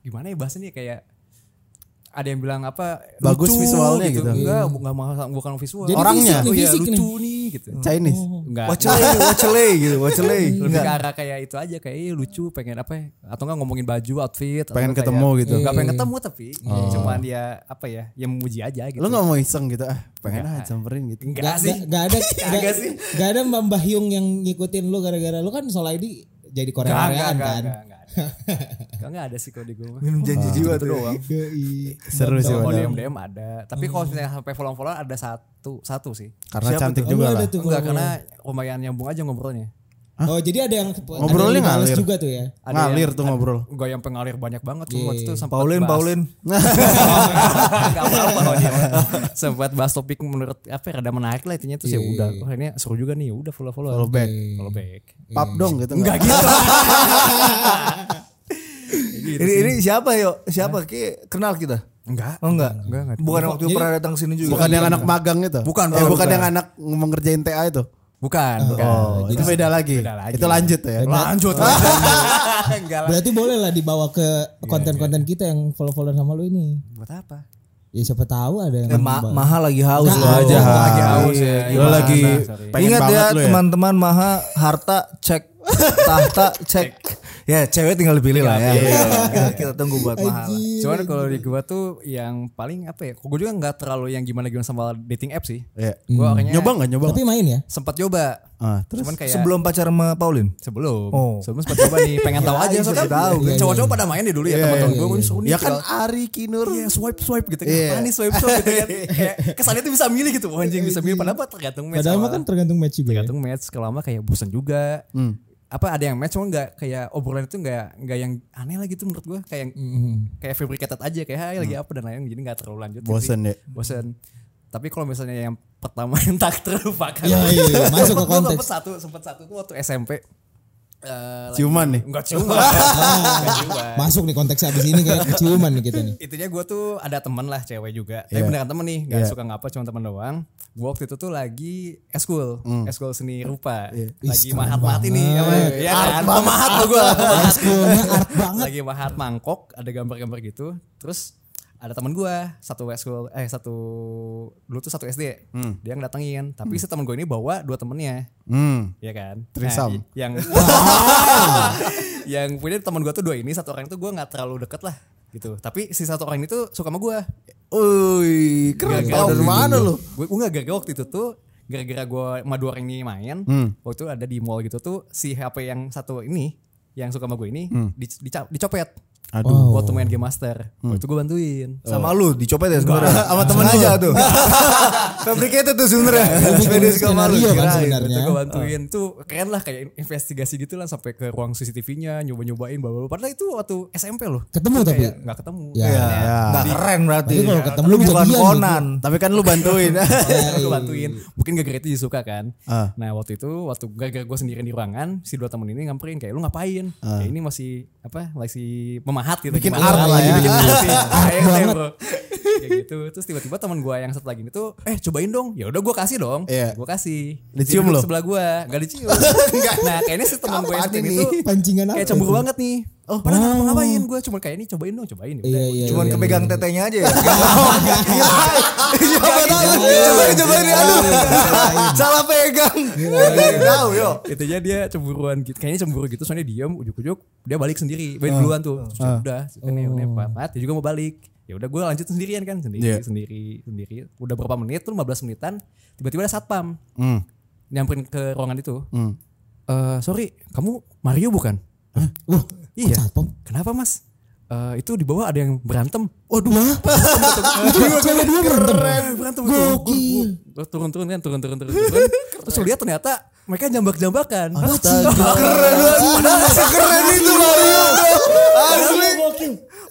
A: Gimana ya bahasanya kayak ada yang bilang apa
C: Bagus visualnya gitu.
A: Enggak, enggak masalah bukan visual.
B: Jadi
C: Orangnya?
B: fisik nih,
A: oh iya
B: fisik
A: lucu
B: nih.
A: nih gitu.
C: Chinese.
A: Enggak.
E: Wacele,
C: Eh,
E: wacele gitu, wacele.
A: [LAUGHS] lebih
E: Enggak.
A: ke arah kayak itu aja kayak "Ih, lucu pengen apa ya atau enggak ngomongin baju outfit atau
C: Pengen
A: kayak-
C: ketemu gitu.
A: nggak pengen ketemu tapi cuman dia apa ya yang memuji aja gitu
C: Lu nggak mau iseng gitu ah? Pengen ah samperin gitu.
A: enggak
B: Gak,
A: sih
B: gak, gak ada
A: [LAUGHS]
B: gak,
A: sih.
B: gak ada Mbak Mbah Yung yang ngikutin lu gara-gara lu kan soal ID jadi
A: enggak
B: Korea
A: enggak
B: Koreaan
A: enggak
B: kan.
A: enggak, enggak ada. Enggak, enggak ada sih kalau di gue mah.
E: Minum janji jiwa tuh.
B: Yoi.
C: Seru sih
A: kalau DM
C: padahal.
A: DM ada tapi kalau misalnya sampai follow follow ada satu satu sih
C: Hmm. Karena
E: Siapa
C: cantik
B: Oh,
C: juga
B: lu ada
C: lah.
B: tuh
A: enggak
B: follow-follow.
A: karena lumayan nyambung aja ngobrolnya
B: Oh jadi ada yang ada yang
C: Ngobrolnya
B: dibales
C: ngalir.
B: juga tuh ya.
A: Ada
C: Ngalir tuh ngobrol.
A: enggak yang pengalir banyak banget cuma
C: Iya.
A: waktu itu sempat
E: Paulin,
A: bahas- [LAUGHS]
E: Paulin.
A: Gak apa-apa kalau dia mah. sempat bahas topik menurut apa ya, rada menarik lah intinya terus ya udah wah ini seru juga nih ya udah follow follow
C: Iya. Follow back.
A: follow back
C: Pap dong gitu.
A: enggak
C: nggak?
A: gitu
E: Ini ini siapa yo? Siapa ki kenal kita?
A: enggak
E: Oh enggak.
A: enggak enggak
E: Bukan waktu pernah datang sini juga.
C: Bukan yang anak magang itu.
A: Bukan,
C: Eh,
A: bukan.
C: bukan yang anak ngerjain TA itu.
A: bukan bukan
C: Oh, itu beda lagi.
A: beda lagi.
C: Itu lanjut ya.
A: lanjut lanjut. enggak
C: [LAUGHS]
A: lah
B: Berarti boleh lah dibawa ke konten-konten kita yang follow-followan sama lu ini.
A: buat apa
B: Ya siapa tahu ada yang
E: Eh, ma-
B: Mbak-
E: Maha lagi haus
B: Nggak
E: loh
B: haus,
E: aja.
B: nggak
A: lagi haus ya,
C: Lo
A: gimana?
C: lagi
A: Sorry.
C: pengen
E: Ingat
C: banget
E: ya
C: lu
E: teman-teman Maha harta cek tahta cek. Ya cewek tinggal dipilih lah ya. Kita, kita tunggu buat Maha. lah.
A: cuman kalau di gua tuh yang paling apa ya gua juga enggak terlalu yang gimana gimana sama dating app sih
C: Iya.
A: gua orangnya
C: Nyoba nggak nyoba?
B: Tapi main ya.
A: sempat coba
C: Ah, terus
A: cuman kayak
E: Sebelum pacar sama Paulin.
A: Sebelum.
E: Oh.
A: Sebelum sempat coba nih, [LAUGHS] pengen tahu aja soalnya Iya, tahu. Cowok-cowok pada main deh dulu ya teman-teman gue gue seru nih.
C: ya kan
A: tinggal-
C: Ari Kinur.
A: Iya swipe swipe gitu kan. Apaan nih swipe swipe gitu kan. [LAUGHS] Kayak Kesannya tuh bisa milih gitu. Oh, anjing bisa milih padahal mah tergantung match.
B: Padahal mah
A: awal.
B: kan tergantung match juga. ya.
A: tergantung match kalau lama kayak bosen juga.
B: Hmm.
A: Apa ada yang match cuma nggak kayak obrolan itu nggak nggak yang aneh lah gitu menurut gue kayak
B: Hmm.
A: kayak fabricated aja kayak hai lagi apa dan lain jadi nggak terlalu lanjut. gitu
C: Bosen
A: sih.
C: ya.
A: Bosen. Tapi kalau misalnya yang pertama [LAUGHS] yang tak terlupakan.
B: Iya, iya,
A: [LAUGHS]
B: iya. Masuk ke
A: Sempet- gua
B: konteks.
A: Sempet satu sempet satu tuh waktu SMP. Eh,
C: Ciuman nih.
A: Enggak ciuman.
B: [LAUGHS]
A: Enggak ciuman.
B: Nah, Masuk nih konteksnya abis ini kayak ciuman nih
E: [LAUGHS]
B: kita nih.
A: Intinya gue tuh ada temen lah cewek juga. Tapi
B: Iya.
A: beneran temen nih. Gak suka ngapa cuma temen doang. Gue waktu itu tuh lagi eskul.
B: Hmm.
A: Eskul seni rupa.
B: Iya.
A: Lagi mahat-mahat ini. apa ya, Ya kan? Pemahat lo gue.
B: Eskulnya art banget.
A: Lagi mahat mangkok. Ada gambar-gambar gitu. Terus ada temen gue satu eskul eh satu dulu tuh satu SD
B: Hmm.
A: dia ngedatengin tapi si temen gue ini bawa dua temennya
C: Hmm.
A: Iya kan? Nah,
C: Threesome.
A: i- yang [LAUGHS] yang punya teman gue tuh dua ini, satu orang itu gue nggak terlalu deket lah gitu. Tapi si satu orang itu suka sama gue.
C: Ui, keren.
A: Gagal.
C: Tahu dari mana lu?
A: Gue nggak gara-gara waktu itu tuh gara-gara gue sama dua orang ini main, waktu itu ada di mall gitu tuh si HP yang satu ini yang suka sama gue ini dic- dica- dicopet. Oh.
C: Aduh.
A: Waktu main game master, waktu gue bantuin.
E: Sama lu dicopet ya sebenarnya. Sama temen aja tuh. [LAUGHS] Fabricated tuh sebenarnya.
B: Nah,
E: Sepeda suka malu.
B: Skenario kan
E: Kirain.
B: sebenarnya.
A: Nah, iya, Itu gue bantuin tuh keren lah kayak investigasi gitu lah sampai ke ruang CCTV-nya nyoba-nyobain bawa Padahal itu waktu SMP loh.
B: Ketemu
A: Itu
B: tapi?
A: kayak nggak ketemu.
B: Ya.
E: Iya.
C: Iya.
E: Nggak Nah, keren berarti. Iya,
B: Tapi kalau ketemu
E: Tapi bukan
B: jadian
E: Conan.
C: Tapi kan lu
E: [LAUGHS]
C: bantuin. iya,
A: gue bantuin mungkin gak itu juga suka kan
C: Ah.
A: nah waktu itu waktu gara-gara gue sendirian di ruangan si dua temen ini nyamperin kayak lu ngapain ya ini masih apa masih memahat gitu
C: Ah. Bikin
A: Gimana
C: art lah ya.
A: bikin art
C: [LAUGHS]
A: sih. Kayak gitu,
B: banget.
A: bro. kayak gitu terus tiba-tiba teman gue yang satu lagi itu eh cobain dong ya udah gue kasih dong
C: Iya.
A: gue kasih Dia
C: Dicium
A: duduk
C: lo?
A: sebelah gue gak
C: [LAUGHS]
A: dicium nah kayaknya si teman gue yang
C: Apaan
A: satu ini
C: ini?
A: tuh
B: Pancingan apa?
A: kayak cemburu banget nih oh
C: Ah.
A: padahal nggak ngapain gue cuma kayak ini cobain dong cobain ya udah,
B: Iya iya.
E: Cuman
B: iya.
E: kepegang tetenya aja ya.
C: iya.
E: gitu.
C: Coba coba ini aduh. Salah pegang.
E: Tahu yo.
A: intinya dia cemburuan gitu kayaknya cemburu gitu soalnya diem ujuk-ujuk dia balik sendiri balik
B: Ah.
A: duluan tuh Terus ya udah ini
B: Oh.
A: ini apa dia juga mau balik ya udah gue lanjut sendirian kan sendiri
C: Iya.
A: sendiri sendiri udah berapa menit tuh 15 menitan tiba-tiba ada satpam
B: Hmm.
A: nyamperin ke ruangan itu Eh, sorry kamu Mario bukan
B: Wah,
A: iya
B: satpam?
A: kenapa mas Eh, itu di bawah ada yang berantem
B: Waduh. Itu cewek dua berantem.
A: Eh, berantem tuh. Gua- gua- gua turun-turun kan turun-turun-turun [LAUGHS] turun. Terus lu lihat ternyata mereka jambak-jambakan. Keren
E: Keren itu Mario.
A: Asli.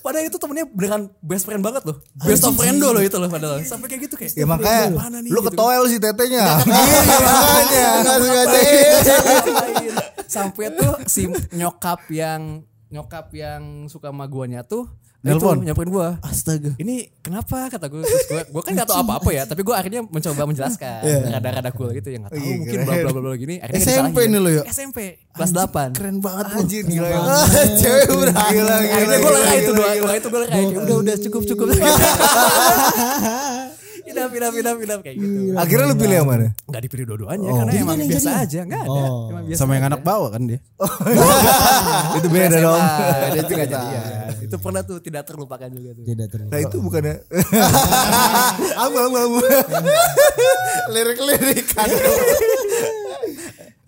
A: Padahal itu temennya beneran best friend banget loh. Best of friend loh itu loh padahal. Sampai kayak gitu kayak.
E: Ya makanya
A: Mana nih
E: lu
A: gitu.
E: ketoel sih tetenya. Iya makanya. Enggak sengaja.
A: [LAUGHS] Sampai tuh si nyokap yang nyokap yang suka sama guanya tuh
C: Nelpon.
A: Itu, nyamperin gue.
C: Astaga.
A: Ini kenapa kata gue? Terus gue, gue kan gak tau apa-apa ya. Tapi gue akhirnya mencoba menjelaskan. Rada-rada cool gitu ya. Gak tau
E: Iya,
A: mungkin
E: keren.
A: bla bla bla bla gini. Akhirnya
C: SMP
A: disalahin.
C: ini lo ya?
A: SMP. Kelas 8.
C: Keren banget lu.
E: Anjir gila. ya. [LAUGHS]
C: Cewek berani.
E: Gila, gila,
A: Akhirnya gue
E: gila,
A: lerai itu
E: gila,
A: doa,
E: gila.
A: doa itu gue lerai. Kayak Udah udah cukup cukup. Inap inap inap inap kayak gitu.
E: Akhirnya lu pilih yang mana?
A: Gak dipilih dua-duanya karena
B: Jadi
A: emang
B: mana yang
A: biasa
B: jadi?
A: aja. Gak ada.
B: Oh.
A: Emang biasa
C: Iya, Sama yang
A: aja.
C: anak bawa kan dia.
E: Oh, itu beda
A: SMA. [LAUGHS]
E: dong.
A: Itu nggak jadian. Itu pernah tuh tidak terlupakan juga tuh.
B: Tidak terlalu.
E: Nah itu
C: [LAUGHS]
E: bukannya Abang, abang, [LAUGHS] abang.
C: Lirik-lirik kan.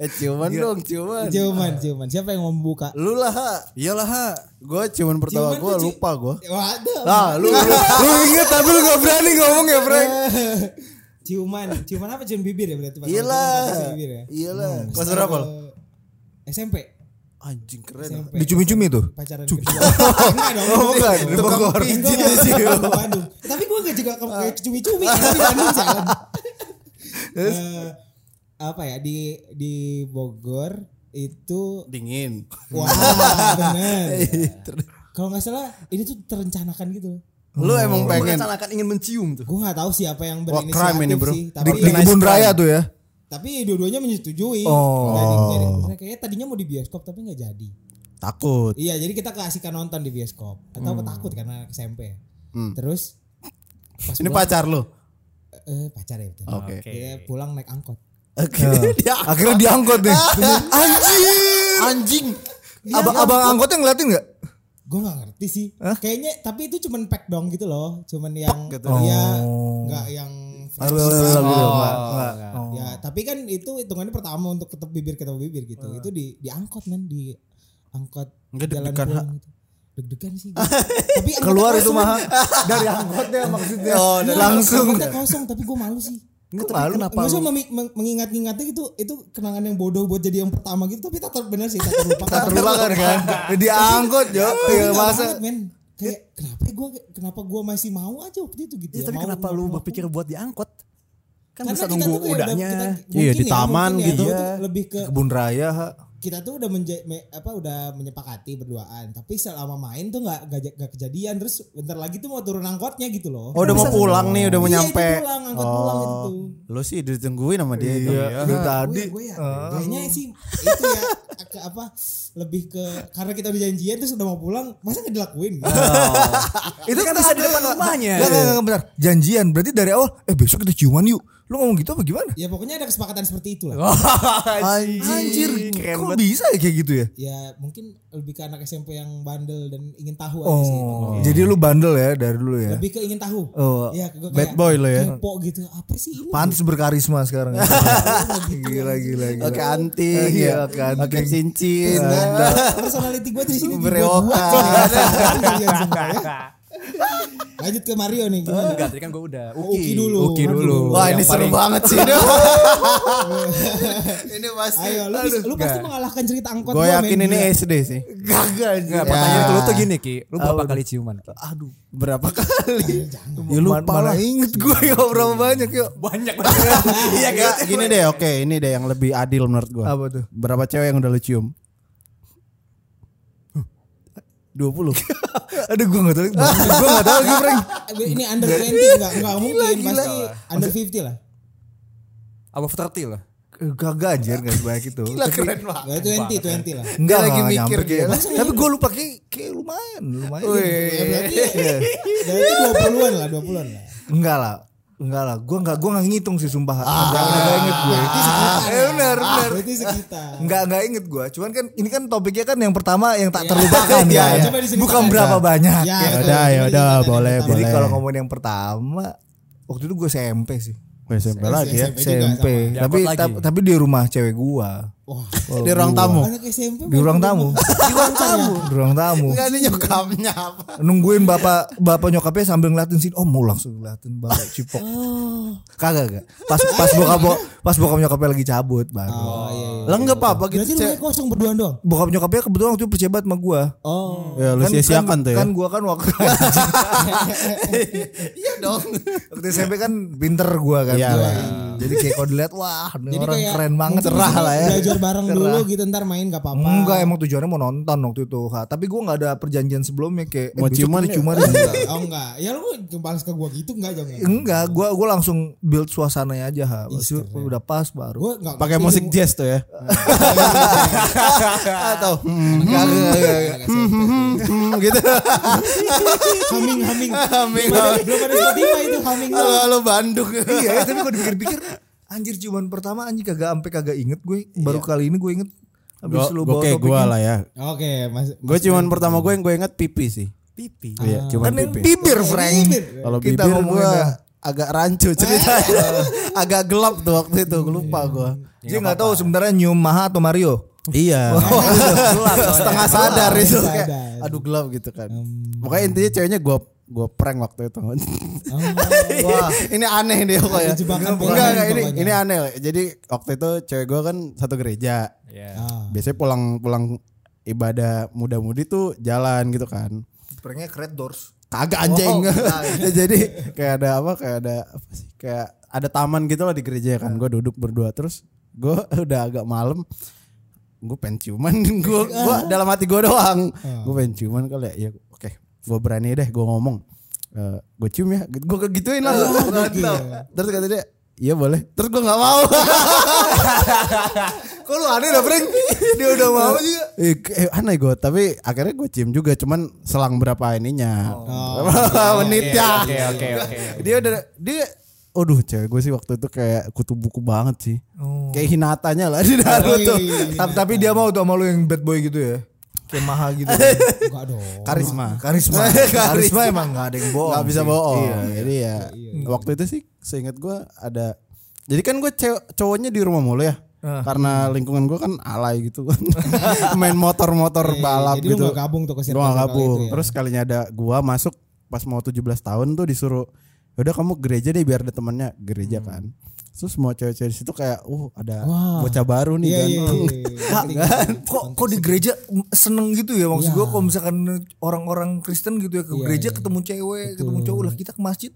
C: eh ciuman
E: Iya.
C: dong, ciuman.
B: Ciuman, ciuman. Siapa yang membuka?
C: Lu Iya lah ha. Iyalah ha. Gue ciuman pertama
B: Ciuman
C: gue
B: tuh, Ci.
C: lupa gue.
B: Waduh.
E: Ah,
C: Nah lu, lu, [LAUGHS] lu inget tapi lu gak berani ngomong ya Frank.
E: Eh.
B: ciuman, ciuman apa? Cium bibir ya berarti. Pak?
C: Iyalah.
B: Cium bibir ya.
E: Iya.
C: Iyalah. Kelas berapa lu?
B: Eh, SMP.
C: Anjing keren.
B: SMP.
E: Dicumi-cumi tuh.
B: pacaran kedua. [LAUGHS] Enggak dong.
E: Oh bukan, Bogor.
B: Gue gak ke Bandung. Tapi gue gak juga ke
C: Ah.
B: ke cumi-cumi. Tapi Bandung
C: [LAUGHS]
B: jalan. Eh, apa ya di di Bogor itu
C: Dingin.
B: wah
C: Hmm. [LAUGHS]
B: bener
C: Iya,
B: kalau nggak salah ini tuh terencanakan gitu
C: Lu emang pengen.
A: Merencanakan ingin mencium tuh.
B: gue nggak tahu siapa yang
C: Wah crime ini
B: berinisiatif
C: bro.
B: sih
E: Di,
B: tapi
E: di kebun raya tuh ya.
B: tapi dua-duanya menyetujui
E: Oh.
B: Jadi kayaknya- kayaknya tadinya mau di bioskop tapi nggak jadi
C: Takut.
B: Iya, jadi kita keasikan nonton di bioskop atau
C: Hmm.
B: takut karena SMP. Terus pas
C: Ini
B: pulang,
C: pacar
A: Ah.
C: lu.
B: eh, pacar ya betul.
C: [LAUGHS] Oke.
B: Dia pulang naik angkot.
C: Oke. Dia
E: Nah,
C: Ah,
E: Akhirnya diangkut nih.
C: anjing. Anjing.
E: Abang, abang angkotnya ngeliatin gak?
B: Gue gak ngerti sih. Kayaknya tapi itu cuman pack dong gitu loh, cuman yang
C: gitu.
B: iya,
E: Oh.
B: nggak yang fresh.
E: Harus
A: Oh.
E: gitu. Pak. Oh.
B: Ya, tapi kan itu hitungannya pertama untuk ketemu bibir ketemu bibir gitu. Itu di di angkot men di angkot
C: Nggak
B: jalan
C: deg-degan,
B: pulang gitu. Deg-degan
E: [LAUGHS]
B: sih. gua. tapi angkotnya
E: Keluar itu
B: kosong.
E: mah dari angkotnya maksudnya. Oh,
B: Iya,
E: langsung.
B: angkotnya kosong tapi gue malu sih.
A: Enggak tapi kenapa lu?
B: Maksudnya memi- meng- mengingat-ingatnya gitu itu kenangan yang bodoh buat jadi yang pertama gitu tapi tak ter- bener sih tak terlupakan.
E: Tak
B: [LAUGHS]
E: terlupakan kan? Diangkut jo. Iya
B: Iya
E: masa.
B: banget men. Kayak kenapa gue kenapa gua masih mau aja waktu itu gitu.
E: Iya,
A: Ya, tapi
B: mau-
A: kenapa
B: mau-
A: lu
B: mau-
A: berpikir buat diangkut? Kan
B: Karena
A: bisa
B: kita
A: nunggu
B: tuh kayak udah- kita-
A: udahnya.
B: mungkin
C: Iya, di
B: ya,
C: taman
B: mungkin ya,
C: gitu.
B: itu Lebih ke
E: Kebun raya. ha.
B: kita tuh udah menja- me- apa udah menyepakati berduaan tapi selama main tuh nggak nggak ja- nggak kejadian terus bentar lagi tuh mau turun angkotnya gitu loh.
C: Oh udah mau pulang nih, udah mau
B: Iya, itu
C: nyampe. Oh.
B: pulang, angkot pulang itu tuh.
C: Lu sih ditungguin sama dia. itu.
E: Iya. Dari tadi.
B: gue ya kayaknya sih itu ya ke apa lebih ke karena kita udah janjian terus udah mau pulang masa nggak dilakuin gitu?
A: Itu kan bisa di depan rumahnya.
E: Gak, gak, gak, benar. Janjian. Berarti dari awal, eh besok kita ciuman yuk. Lu ngomong gitu apa gimana?
B: [LAUGHS] ya pokoknya ada kesepakatan seperti itulah
E: Anjir,
A: keren
E: kok bisa ya kayak gitu ya?
B: ya mungkin lebih ke anak SMP yang bandel dan ingin tahu aja sih gitu.
E: Oh, jadi lu bandel ya dari dulu ya?
B: lebih ke ingin tahu
E: Oh,
B: ya gue
C: bad boy lo ya.
B: kepo gitu apa sih ini [LAUGHS]
E: Pantes berkarisma sekarang. ya. [LAUGHS] gila, gila, gila.
C: Oke anting,
E: Iya,
C: ya.
E: oke
C: oke,
E: anting.
C: cincin.
B: personality gue di sini
C: Berewokan.
B: [LAUGHS] lanjut ke Mario nih gimana?
A: Enggak, tadi kan gue udah.
B: Uki, dulu
A: Uki dulu.
C: Wah
A: Yang
C: ini seru
A: paling-
C: banget sih. ini pasti.
B: ayo lu, lu pasti mengalahkan cerita angkot
C: Gue
B: gua,
C: yakin
B: men.
C: ini
B: Gila.
C: SD sih.
E: Kagak anjir.
A: Enggak, pertanyaan itu lu tuh gini Ki, lu berapa kali ciuman? Ki?
C: Aduh
E: [LAUGHS]
C: berapa kali?
E: Ya lupa lah. inget gue [LAUGHS] ya berapa banyak yuk.
A: Banyak [LAUGHS] banget. Iya
C: Enggak, gini deh, oke, ini deh yang lebih adil menurut gua.
E: Apa tuh?
C: Berapa cewek yang udah lu cium? 20.
E: [LAUGHS] Aduh gue [LAUGHS] gak tau. Gue gak tau lagi Frank.
B: ini under 20 enggak enggak mungkin
E: gila.
B: pasti under 50 lah.
A: Above 30 lah.
E: Eh, Kagak anjir gak sebanyak itu. [LAUGHS] Tapi-
C: keren banget.
B: Ya 20 20 lah.
E: Enggak
C: Dia
E: lagi
C: lagi
E: mikir
C: mikir
E: dia.
C: dia.
E: gitu. Tapi gue lupa kayak, kayak lumayan. Lumayan. gitu.
B: Ya berarti berarti 20-an lah, 20-an lah.
E: Enggak lah. Enggak lah. Gue gak, gue gak ngitung sih sumpah. Enggak enggak inget gue. Eh benar benar.
B: Ah, Berarti sekitar.
E: Enggak enggak inget gue. Cuman kan ini kan topiknya kan yang pertama yang tak
B: Iya,
E: terlupakan kan.
B: coba diceritakan.
E: Bukan berapa banyak.
B: Ya,
C: Ya udah, ya
B: betul.
C: udah,
B: Coba diceritakan
C: boleh,
B: yang
E: Jadi
C: boleh.
E: kalau ngomongin yang pertama, waktu itu gue SMP sih.
C: SMP lagi ya.
B: SMP juga
E: SMP.
A: sama.
E: Tapi
A: Diangkut
E: tap-
A: lagi.
E: tapi di rumah cewek gua.
B: Wah,
C: Di ruang tamu.
B: anak SMP
E: Di ruang tamu. di ruang tamu. Di ruang tamu.
C: Enggak ini nyokapnya apa?
E: Nungguin bapak bapak nyokapnya sambil ngeliatin sini. Oh, mau langsung ngeliatin bapak cipok. Kagak kagak. Pas pas bokap bo- pas bokap nyokapnya lagi cabut baru.
B: Oh, iya. iya.
C: Lah enggak apa-apa
B: Berarti
C: gitu.
B: lu
C: cewek.
B: kosong berduaan doang.
E: Bokap nyokapnya kebetulan waktu itu percaya banget sama gua.
B: Oh.
C: Ya lu sia-siakan tuh ya.
E: Kan gua kan
C: [LAUGHS]
E: waktu
C: Iya dong.
B: [LAUGHS]
E: waktu SMP kan pinter gua kan.
C: Iya
E: Gua
C: lah.
E: Jadi kayak kalau dilihat wah ini
B: Jadi
E: orang
B: kayak
E: keren banget
B: mungkin
E: cerah
B: kita
E: lah ya.
B: Belajar bareng
E: Cerah.
B: dulu gitu ntar main gak apa-apa.
E: Enggak emang tujuannya mau nonton waktu itu ha. Tapi gue nggak ada perjanjian sebelumnya kayak
C: Mau
E: besok
C: ciuman
E: kita
C: ya?
E: ciuman ya?
C: [LAUGHS]
E: enggak.
B: Oh enggak. Ya lu balas ke gua gitu enggak Jong ya?
E: Enggak, gue gua langsung build suasananya aja ha.
B: Ih,
E: Maksudnya
B: keren.
E: udah pas baru.
B: Gua enggak
C: Pakai
B: ngerti
C: musik
B: lu-
C: jazz tuh [LAUGHS] ya.
E: Atau
B: Enggak, enggak, enggak, enggak, enggak.
C: Hmm, gitu.
B: Humming humming.
C: Humming.
B: Belum ada- Belum ada Spotify itu humming.
C: Halo halo Bandung.
E: [LAUGHS] iya, ya, tapi kalau dipikir-pikir anjir ciuman pertama anjir kagak ampe kagak inget gue. Baru kali ini gue inget habis
C: Iya. Gua-
E: lu
C: gua
E: bawa
C: kayak
E: topiknya.
C: gua lah ya.
B: Oke, Mas.
C: Gue cuman pertama gue yang gue ingat pipi sih.
A: pipi.
C: Iya, cuman
E: Kan yang
C: pipi.
E: bibir Frank.
B: Bibir.
C: Kalau
E: Kita
C: bibir
E: ngomongin
C: gue
E: ya.
C: agak rancu [LAUGHS] ceritanya. agak gelap tuh waktu itu, gue lupa gue.
E: Dia nggak tahu sebenarnya nyium Maha atau Mario.
C: Iya. [LAUGHS]
A: Gelap soalnya.
C: Setengah sadar
B: Gelap,
C: itu
B: sadar.
C: kayak gitu kan. aduh gelap gitu kan. Pokoknya intinya ceweknya gue gue prank waktu itu. [LAUGHS]
B: Oh,
C: Wah, ini aneh deh pokoknya.
B: Ini jebakan
C: Enggak, enggak ini
B: pokoknya. gitu
C: ini aneh. lah. Jadi waktu itu cewek gue kan satu gereja.
A: Iya.
B: Ah.
C: Biasanya pulang-pulang ibadah muda-mudi tuh jalan gitu kan.
E: Pranknya Red Doors.
C: kagak anjing [LAUGHS] Ya, jadi kayak ada apa kayak ada apa sih kayak ada taman gitu lah di gereja kan gue duduk berdua terus gue [LAUGHS] udah agak malam gue pengen ciuman gue [LAUGHS] gua dalam hati gue doang gue pengen ciuman kali ya, Ya, oke gue berani deh gue ngomong gue cium ya gue kegituin [LAUGHS] lah terus kata dia iya boleh terus gue nggak mau [LAUGHS]
E: Kok lu aneh dah Frank? Dia udah mau juga.
C: Eh, ke- eh, aneh gue tapi akhirnya gue cium juga cuman selang berapa ininya [LAUGHS] menitnya
A: Oke oke oke.
C: dia udah dia Aduh cewek gue sih waktu itu kayak kutu buku banget sih
B: Oh.
C: Kayak Hinatanya lah di
E: Oh.
C: Naruto
B: Iya,
C: tuh
B: iya, iya.
E: Tapi, tapi dia mau tuh sama lu yang bad boy gitu ya. Kayak Maha gitu.
C: [LAUGHS]
B: Enggak dong.
C: Karisma
E: Karisma. Karisma emang gak ada yang bohong.
C: Gak bisa
E: sih.
C: bohong
E: Iya.
C: Jadi ya waktu itu sih seingat gue ada Jadi kan gue cew- cowoknya di rumah mulu ya
B: Ah.
C: Karena lingkungan gue kan alay gitu
B: [LAUGHS]
C: Main motor-motor balap
B: Iya, Jadi lu
C: gitu
B: nggak gabung tuh
C: Gue gak
B: ke circle-circle
C: gabung
B: itu ya?
C: Terus kalinya ada gua masuk pas mau 17 tahun tuh disuruh "Ya udah kamu gereja deh biar ada temannya gereja kan Terus semua cewek-cewek di situ kayak uh ada
B: Wah.
C: bocah baru nih
B: Iya,
C: kan.
B: iya, iya, iya.
E: Nggak, nggak. kok kok di gereja seneng gitu ya maksud
B: Iya.
E: gua kalau misalkan orang-orang Kristen gitu ya ke gereja ketemu cewek ketemu cowok lah kita ke masjid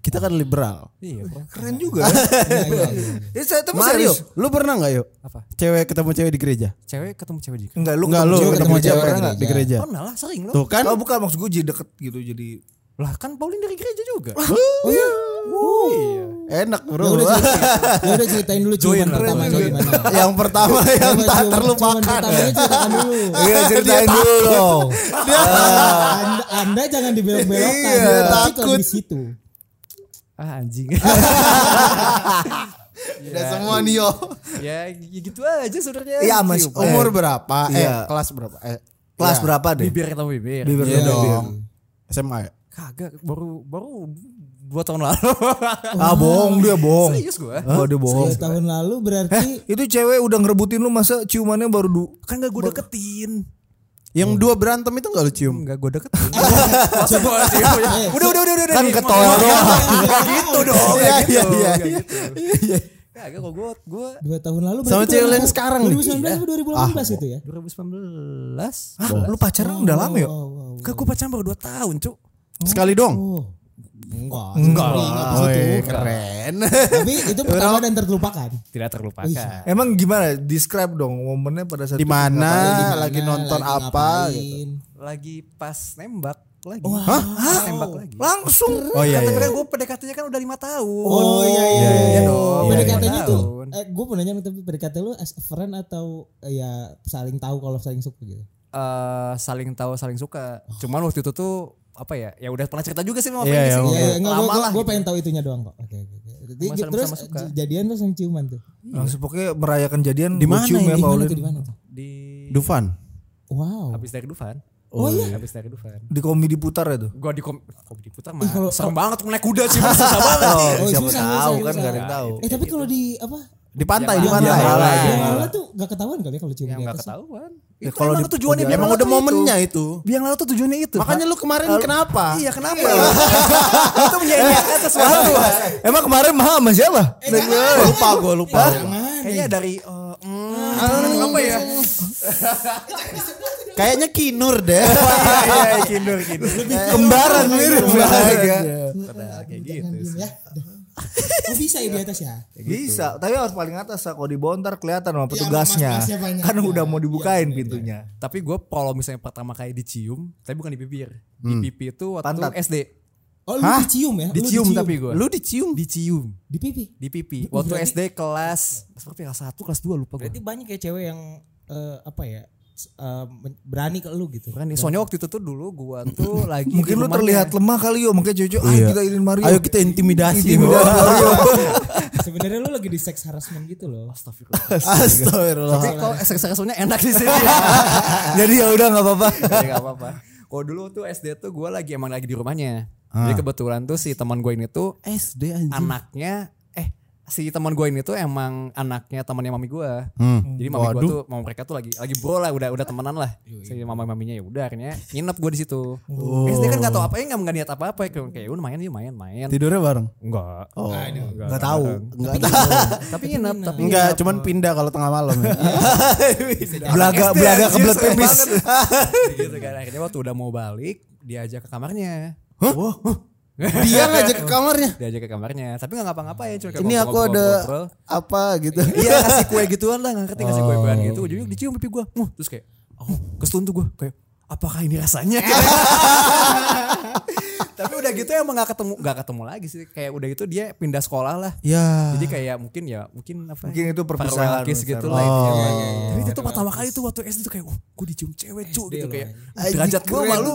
C: Kita kan liberal.
A: Iya. bro.
E: keren juga ya.
B: Iya, iya, iya.
E: ya saya tapi
C: Mario,
E: serius
C: lu pernah nggak yuk?
A: Apa?
C: Cewek ketemu cewek di gereja?
A: Cewek ketemu cewek juga.
E: enggak lu
C: Enggak lu
E: cewek,
C: ketemu cewek
E: pernah
C: pernah nggak
E: nggak?
C: di gereja?
A: Pernah lah sering lo.
C: Tuh kan.
E: oh bukan maksud gua jadi deket gitu jadi
A: Lah kan Pauline dari gereja juga.
C: Oh, iya. Enak bro.
B: Ya udah
C: [LAUGHS]
B: ceritain, ya udah ceritain dulu ciuman
A: Join,
B: pertama
A: join,
B: itu
A: join.
B: gimana.
C: yang pertama yang
B: Coba
C: tak
B: ciuman- ciuman
C: terlupakan.
B: pertamanya ceritakan dulu.
E: [LAUGHS] iya ceritain dulu dong
B: anda, anda jangan dibelok-belokkan.
E: Iya,
B: Tapi kalau
E: takut.
B: Di situ.
A: Ah
E: [LAUGHS]
A: anjing. [LAUGHS]
C: Udah semua nih yo.
A: ya ya gitu aja sebenarnya.
E: Iya, Mas.
A: Cium.
C: Umur berapa?
E: Iya.
C: Eh kelas berapa? Eh,
E: kelas
C: iya.
E: berapa deh
A: Bibir ketemu bibir.
E: bibir
C: Iya
E: dong.
C: dong. SMA ya?
A: Kagak baru baru dua tahun lalu. [LAUGHS]
E: ah bohong dia bohong
A: Serius gua.
E: oh dia bohong
B: Dua tahun lalu berarti
E: itu cewek udah ngerebutin lu masa ciumannya baru du
A: Kan gak gue deketin.
C: Yang dua berantem itu gak lu cium?
A: Enggak gue
E: [LAUGHS]
A: deketin. Masa gue cium ya? Udah udah udah udah.
E: Kan
A: nih.
E: ketawa
A: Nggak
E: doang.
A: gitu dong.
C: Iya,
A: nggak
C: iya,
A: gitu,
C: iya,
A: nggak gitu. Kagak kok gue gue
B: dua tahun lalu
C: Sama
B: berarti
C: cewek
B: dua-
C: yang sekarang nih.
B: 2019 atau 2018 itu ya?
A: 2019.
E: Hah, lu pacaran udah lama ya
B: Wow, wow.
A: Kagak gue pacaran baru 2 tahun cuk.
C: Sekali dong.
B: Oh. Enggak.
E: Enggak
B: Sorry,
E: lah.
B: di situ.
C: keren. Ah,
B: Tapi itu pertama dan terlupakan.
A: Tidak terlupakan.
E: Emang gimana? Describe dong momennya pada saat
C: Di
E: itu.
C: mana
B: Di mana,
C: lagi nonton
B: lagi
C: apa
B: ngapain.
C: gitu.
A: Lagi pas nembak lagi. Hah? Nembak lagi.
E: Langsung.
C: Oh iya. iya.
A: Kata-kata gue PDKT-nya kan udah 5 tahun.
B: Oh iya iya.
A: Iya
B: iya
A: dong.
B: Oh,
A: Iya,
B: PDKT
A: iya.
B: nya tuh,
A: Tahun.
B: eh, gue mau nanya tapi PDKT lu as a friend atau eh, ya saling tahu kalau saling suka gitu?
A: eh saling tahu saling suka. Cuman waktu itu tuh apa ya? Ya udah pernah cerita juga sih sama
C: Iya,
A: Feni
C: iya,
A: sih.
C: Oke.
B: Iya, iya, enggak,
A: Lama
B: gue
A: lah.
B: gue pengen tahu itunya doang kok. Oke, oke. oke. Jadi,
A: Sama-sama
B: Terus
A: suka.
B: j- jadian terus yang ciuman tuh.
E: Langsung pokoknya merayakan jadian
C: Di mana
E: cium ya
B: Di mana
E: Paulin.
B: tuh? Di mana tuh?
A: Di
C: Dufan.
B: Wow.
A: habis dari Dufan.
B: Oh, iya.
A: Habis dari Dufan.
E: Di komedi putar ya tuh.
A: Gua di kom, kom di putar mah.
B: kalau-
A: serem banget naik kuda sih Mas. susah
B: [LAUGHS]
A: banget.
B: Oh,
E: siapa
B: susah,
E: tahu
B: susah,
E: kan
B: susah.
E: gak ada yang tahu.
B: Eh tapi kalau di apa?
C: Di pantai,
A: Yang
C: di
A: malam.
C: pantai.
A: Yang malam.
B: Yang
A: Iya.
B: malam tuh gak ketahuan kali ya kalau cium
A: Yang
B: di
A: enggak
B: atas.
A: ketahuan.
E: Ya,
B: iya.
A: Itu
E: kalau
A: emang
E: di-
A: tujuannya biang
C: Emang
A: lalat
C: udah
A: tuh
C: momennya itu.
A: Biang lalat tuh tujuannya itu.
C: Makanya lu kemarin kenapa?
A: Pak. Iya, kenapa? [LAUGHS] itu menyanyiakan sesuatu.
E: Emang kemarin mahal sama siapa?
C: Lupa gue lupa.
B: Jangan.
A: Kayaknya dari eh, mm, apa ya?
C: Kayaknya Kinur deh.
A: Iya, iya,
C: gitu.
A: kindur, kindur.
E: Kembaran mirip
C: Kembaran.
A: Iya.
E: banget.
A: Padahal kayak gitu.
B: Jangan diem ya. Oh bisa ya di atas ya.
E: Bisa, tapi harus paling atas lah. Kalau di bawah ntar kelihatan
C: Iya,
E: sama petugasnya.
B: mas-masnya banyak.
E: kan
B: Iya,
E: udah mau dibukain pintunya.
A: Tapi gue kalau misalnya pertama kali dicium, tapi bukan di bibir. Di pipi itu waktu
E: Pantat.
A: SD.
B: Oh lu
C: Hah?
B: dicium ya? Lu
A: Dicium, tapi gue.
C: Lu dicium?
A: Dicium.
B: di pipi.
A: Di pipi.
B: Berarti-
A: Waktu SD kelas, seperti kelas 1, kelas 2 lupa gue.
B: Berarti banyak ya cewek yang eh, apa ya? s- eh, men- berani ke lu gitu.
A: Bukan, ya, soalnya waktu itu tuh dulu gue tuh lagi di
E: Mungkin lu
A: rumahnya.
E: terlihat lemah kali yo, makanya cucu ah kita inin Mario.
C: Iya. Ayo kita intimidasi.
E: Intimidasi Mario.
B: Sebenarnya lu lagi di sex harassment gitu loh.
A: Astagfirullah. [LAUGHS]
C: Astagfirullah.
A: Tapi kalau seksualnya enak di sini.
E: Jadi ya udah nggak
C: [LAUGHS]
E: apa-apa.
A: ya gak apa-apa. Kalau dulu tuh SD tuh gue lagi emang lagi di rumahnya. Jadi kebetulan tuh si teman gue ini tuh
C: SD anjing.
A: anaknya eh si teman gue ini tuh emang anaknya temannya mami gue.
C: Hmm.
A: Jadi mami gue tuh mama mereka tuh lagi lagi bro lah udah udah temenan lah. Si mama maminya ya udah akhirnya nginep gue di situ. SD kan gak tau apa ya nggak nggak niat apa apa kayak kayak udah main yuk main main.
C: Tidurnya bareng?
A: Enggak.
C: [LAUGHS] Oh.
E: Nggak tahu.
C: Enggak tahu.
A: Tapi nginep
B: Iya.
A: tapi
C: Enggak, cuman pindah kalau tengah malam. ya.
E: Belaga
A: Anak SD,
E: belaga
A: anjir,
E: kebelet
A: serem
E: pipis.
C: [LAUGHS]
A: banget. gitu kan akhirnya waktu udah mau balik diajak ke kamarnya. [LAUGHS]
C: Dia ngajak ke kamarnya.
A: diajak ke kamarnya tapi nggak ngapa-ngapain cuma kayak
C: Ini aku
A: ngobrol-ngobrol,
C: ada
A: ngobrol-ngobrol.
C: apa gitu.
A: iya kasih kue gituan lah nggak ngerti ngasih
E: Oh.
A: kue kuean gitu ujungnya dicium pipi gue Muh, terus kayak oh kesetun tuh gue kayak apakah ini rasanya tapi udah gitu emang nggak ketemu nggak ketemu lagi sih kayak udah gitu dia pindah sekolah lah
C: Ya.
A: jadi kayak mungkin ya mungkin apa
E: Ah. Mungkin itu
A: farewell
E: perpisahan,
A: kiss gitu
E: farewell.
A: lah intinya.
C: Oh.
A: Tapi itu tuh pertama kali tuh waktu SD tuh kayak, oh gue dicium cewek cu gitu
B: loh,
A: kayak.
C: anjing.
A: Derajat gue
C: Keren.
A: malu.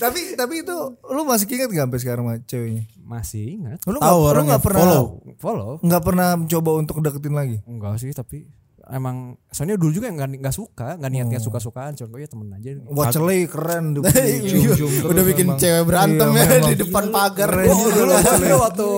E: tapi tapi itu lu masih ingat nggak sampai sekarang sama ceweknya?
A: Masih ingat.
C: Tahu
E: Lu nggak lu
C: orangnya,
E: nggak pernah
C: follow.
A: Follow.
E: nggak pernah mencoba untuk deketin lagi?
A: Enggak sih tapi emang soalnya dulu juga nggak nggak suka nggak niatnya
E: Oh.
A: suka sukaan cuma ya temen aja
E: Waceley
C: [LAUGHS]
E: keren tuh.
C: Iya. Udah bikin cewek berantem
E: Iya,
C: ya di depan pagar.
A: Gua dulu dulu waktu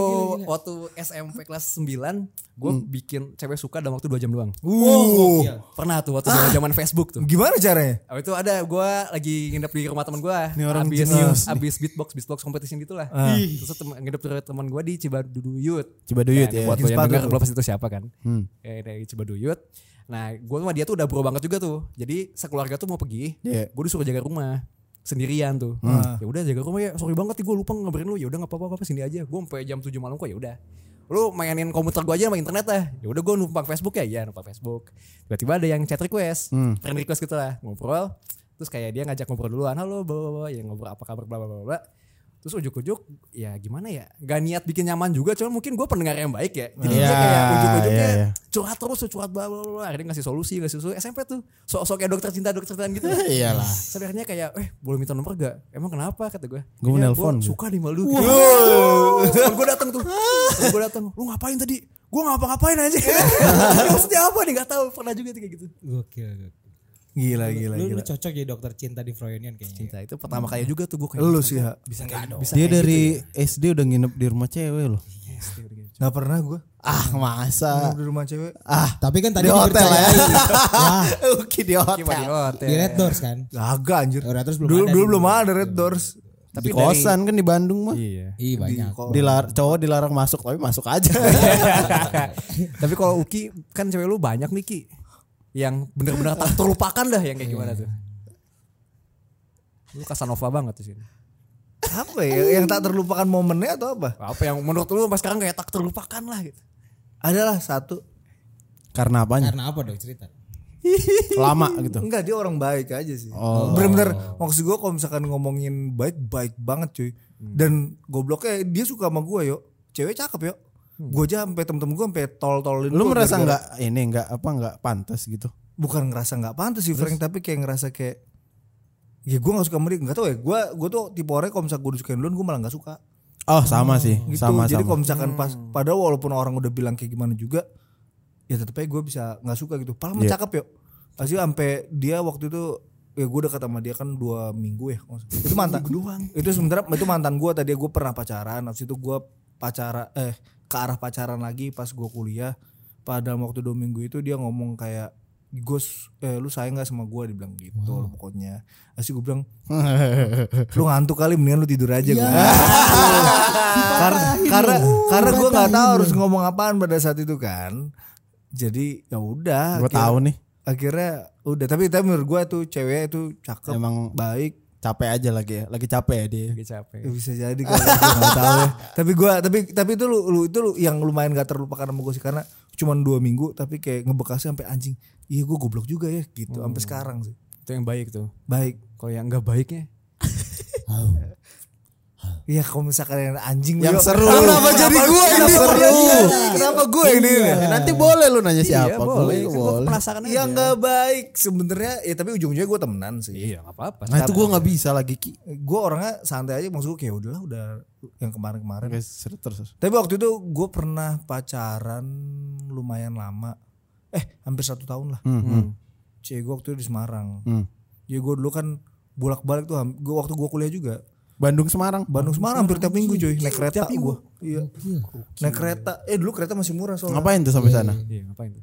A: waktu SMP kelas 9 gue bikin cewek suka dalam waktu 2 jam doang
E: Uh,
A: pernah tuh waktu zaman zaman Facebook tuh
E: gimana caranya?
A: Abis itu ada gue lagi nginep di rumah teman gue
C: Ini orang
A: abis,
C: jenius
A: abis beatbox beatbox competition gitulah terus temen, nginep di rumah teman gue di Cibaduyut
C: Cibaduyut ya.
A: buat lo yang
E: Sepatu
A: dengar
E: tuh.
A: belum pasti itu siapa kan ya, dari Cibaduyut nah gue sama dia tuh udah bro banget juga tuh jadi sekeluarga tuh mau pergi
C: Iya.
A: gue disuruh jaga rumah sendirian tuh
C: Hmm.
A: ya udah jaga rumah ya sorry banget nih gue lupa ngabarin lu ya udah nggak apa-apa apa sini aja gue sampai jam 7 malam kok ya udah lu mainin komputer gue aja sama internet lah ya udah gue numpang Facebook ya ya numpang Facebook tiba-tiba ada yang chat request
C: Hmm.
A: friend request gitu lah ngobrol terus kayak dia ngajak ngobrol duluan halo bla bla bla ya ngobrol apa kabar bla bla bla bla terus ujuk-ujuk ya gimana ya gak niat bikin nyaman juga cuman mungkin gue pendengar yang baik ya jadi dia
C: Iya,
A: kayak ujuk-ujuknya
C: iya, iya.
A: curhat terus tuh, curhat bla bla bla bla. akhirnya ngasih solusi ngasih solusi SMP tuh sok-sok kayak dokter cinta dokter cintaan gitu
C: [LAUGHS] Iyalah.
A: sebenarnya kayak eh boleh minta nomor gak emang kenapa kata gue
C: Gua mau
A: "Kayaknya
C: nelpon."
A: gua suka nih malu wow. gue datang tuh gue datang lu ngapain tadi gue ngapa-ngapain
C: [LAUGHS]
A: aja maksudnya apa nih gak tahu pernah juga tuh kayak gitu
B: Gokil. gokil.
E: Gila gila
B: Lu, lu
E: gila.
B: cocok jadi dokter cinta di Froyonian kayaknya.
A: cinta Nah, itu pertama kali juga tuh gue kayak
E: Lu sih ha.
A: bisa kayak bisa
C: Iya. Dia dari SD udah nginep di rumah cewek loh.
E: Gak pernah gue
C: Ah, masa.
E: di rumah cewek.
C: Ah,
B: Tapi kan tadi
C: di hotel ya. Iya.
B: dipercayain.
C: [LAUGHS] Wah, Uki di
A: gimana
C: hotel.
A: hotel
B: di Red Doors kan.
E: Agak anjir.
B: Oh, Red Doors belum
E: Dulu,
B: ada
E: dulu
B: nih.
E: belum ada Red Doors.
C: Di kosan kan di Bandung mah.
A: iya
B: Ih banyak.
C: Dilar cowok dilarang masuk tapi masuk [LAUGHS] aja.
A: Tapi kalau Uki kan cewek lu banyak nih Ki. Yang bener-bener tak terlupakan dah yang kayak gimana tuh.
C: Iya.
A: Lu Casanova banget di sini.
E: apa ya? Yang tak terlupakan momennya atau apa?
A: Apa yang menurut lu sampai sekarang kayak tak terlupakan lah gitu.
E: Adalah satu.
C: Karena apanya?
B: Karena apa dong cerita?
C: Iya. [LAUGHS] Lama gitu.
E: Enggak dia orang baik aja sih.
C: Oh.
E: Bener-bener maksud gue kalau misalkan ngomongin baik baik banget cuy.
C: Hmm.
E: Dan gobloknya dia suka sama gue yo. Cewek cakep yo. Gue aja sampai temen-temen gue sampai tol-tolin.
C: Hmm. Lu
E: gua
C: merasa
E: gara-gara-
C: nggak ini nggak apa nggak pantas gitu?
E: bukan ngerasa nggak pantas sih Frank tapi kayak ngerasa kayak ya gue gak suka sama dia nggak tau ya gue gue tuh tipe orang kalau misalnya gue disukain duluan gue malah nggak suka
C: Oh sama sih,
E: gitu
C: sama
E: jadi
C: sama.
E: kalau misalkan pas padahal walaupun orang udah bilang kayak gimana juga ya tetep aja gue bisa nggak suka gitu paling
C: Iya.
E: mencakap yuk pasti sampai dia waktu itu ya gue dekat sama dia kan dua minggu ya kalau nggak salah. itu
C: [LAUGHS]
E: mantan itu sebenarnya itu mantan gue tadi gue pernah pacaran habis itu gue pacara eh ke arah pacaran lagi pas gue kuliah pada waktu dua minggu itu dia ngomong kayak gue eh, lu sayang gak sama gue dibilang gitu loh pokoknya Asli
C: [LAUGHS]
E: gue bilang lu ngantuk kali mendingan lu tidur aja
B: Iya.
E: gua. karena karena karena gue nggak tahu harus ngomong apaan pada saat itu kan jadi ya udah
C: Gue
E: akhirnya-
C: tahu nih.
E: akhirnya udah tapi tapi menurut gue tuh cewek itu cakep
C: Emang-
E: baik
C: capek aja lagi ya lagi capek ya dia
A: Lagi capek.
E: Ya, bisa
C: [LAUGHS]
E: jadi kalau gue nggak tahu ya. Tapi gua tapi tapi itu lu, lu- itu lu yang lumayan gak terlupakan sama gue sih karena cuman dua minggu tapi kayak ngebekasnya sampai anjing. Iya gue goblok juga ya gitu
C: Hmm.
E: sampai sekarang sih.
A: Itu yang baik tuh.
E: Baik.
A: Kalau yang nggak baiknya
E: Iya kalau misalkan yang anjing
C: Yang
E: yuk.
C: seru. Iya,
E: Kenapa jadi gue yang
C: Yang
E: seru?
C: seru.
E: Kenapa gue yang ini?
C: Ya, nanti boleh lu nanya siapa
A: Iya,
C: boleh, Nah,
A: Kan gua
C: boleh.
A: penasaran aja.
E: Yang gak baik sebenarnya ya tapi ujung-ujungnya gue temenan sih.
A: Iya, nggak apa-apa.
C: nah itu gue nggak bisa lagi ki
E: Gue orangnya santai aja maksud gue kayak "Ya udahlah udah yang kemarin-kemarin.
C: Oke, seru terus
E: Tapi waktu itu gue pernah pacaran lumayan lama. Eh hampir satu tahun lah. Cewek gue waktu itu di Semarang.
C: Hmm.
E: Jadi gue dulu kan bolak-balik tuh. ham- Gua waktu gue kuliah juga.
C: Bandung Semarang
E: Bandung Semarang hampir tiap minggu cuy. Naik kereta
A: minggu?
E: gue. Iya. Naik kereta. Eh dulu kereta masih murah soalnya.
C: ngapain tuh sampai sana
A: Iya, ngapain tuh?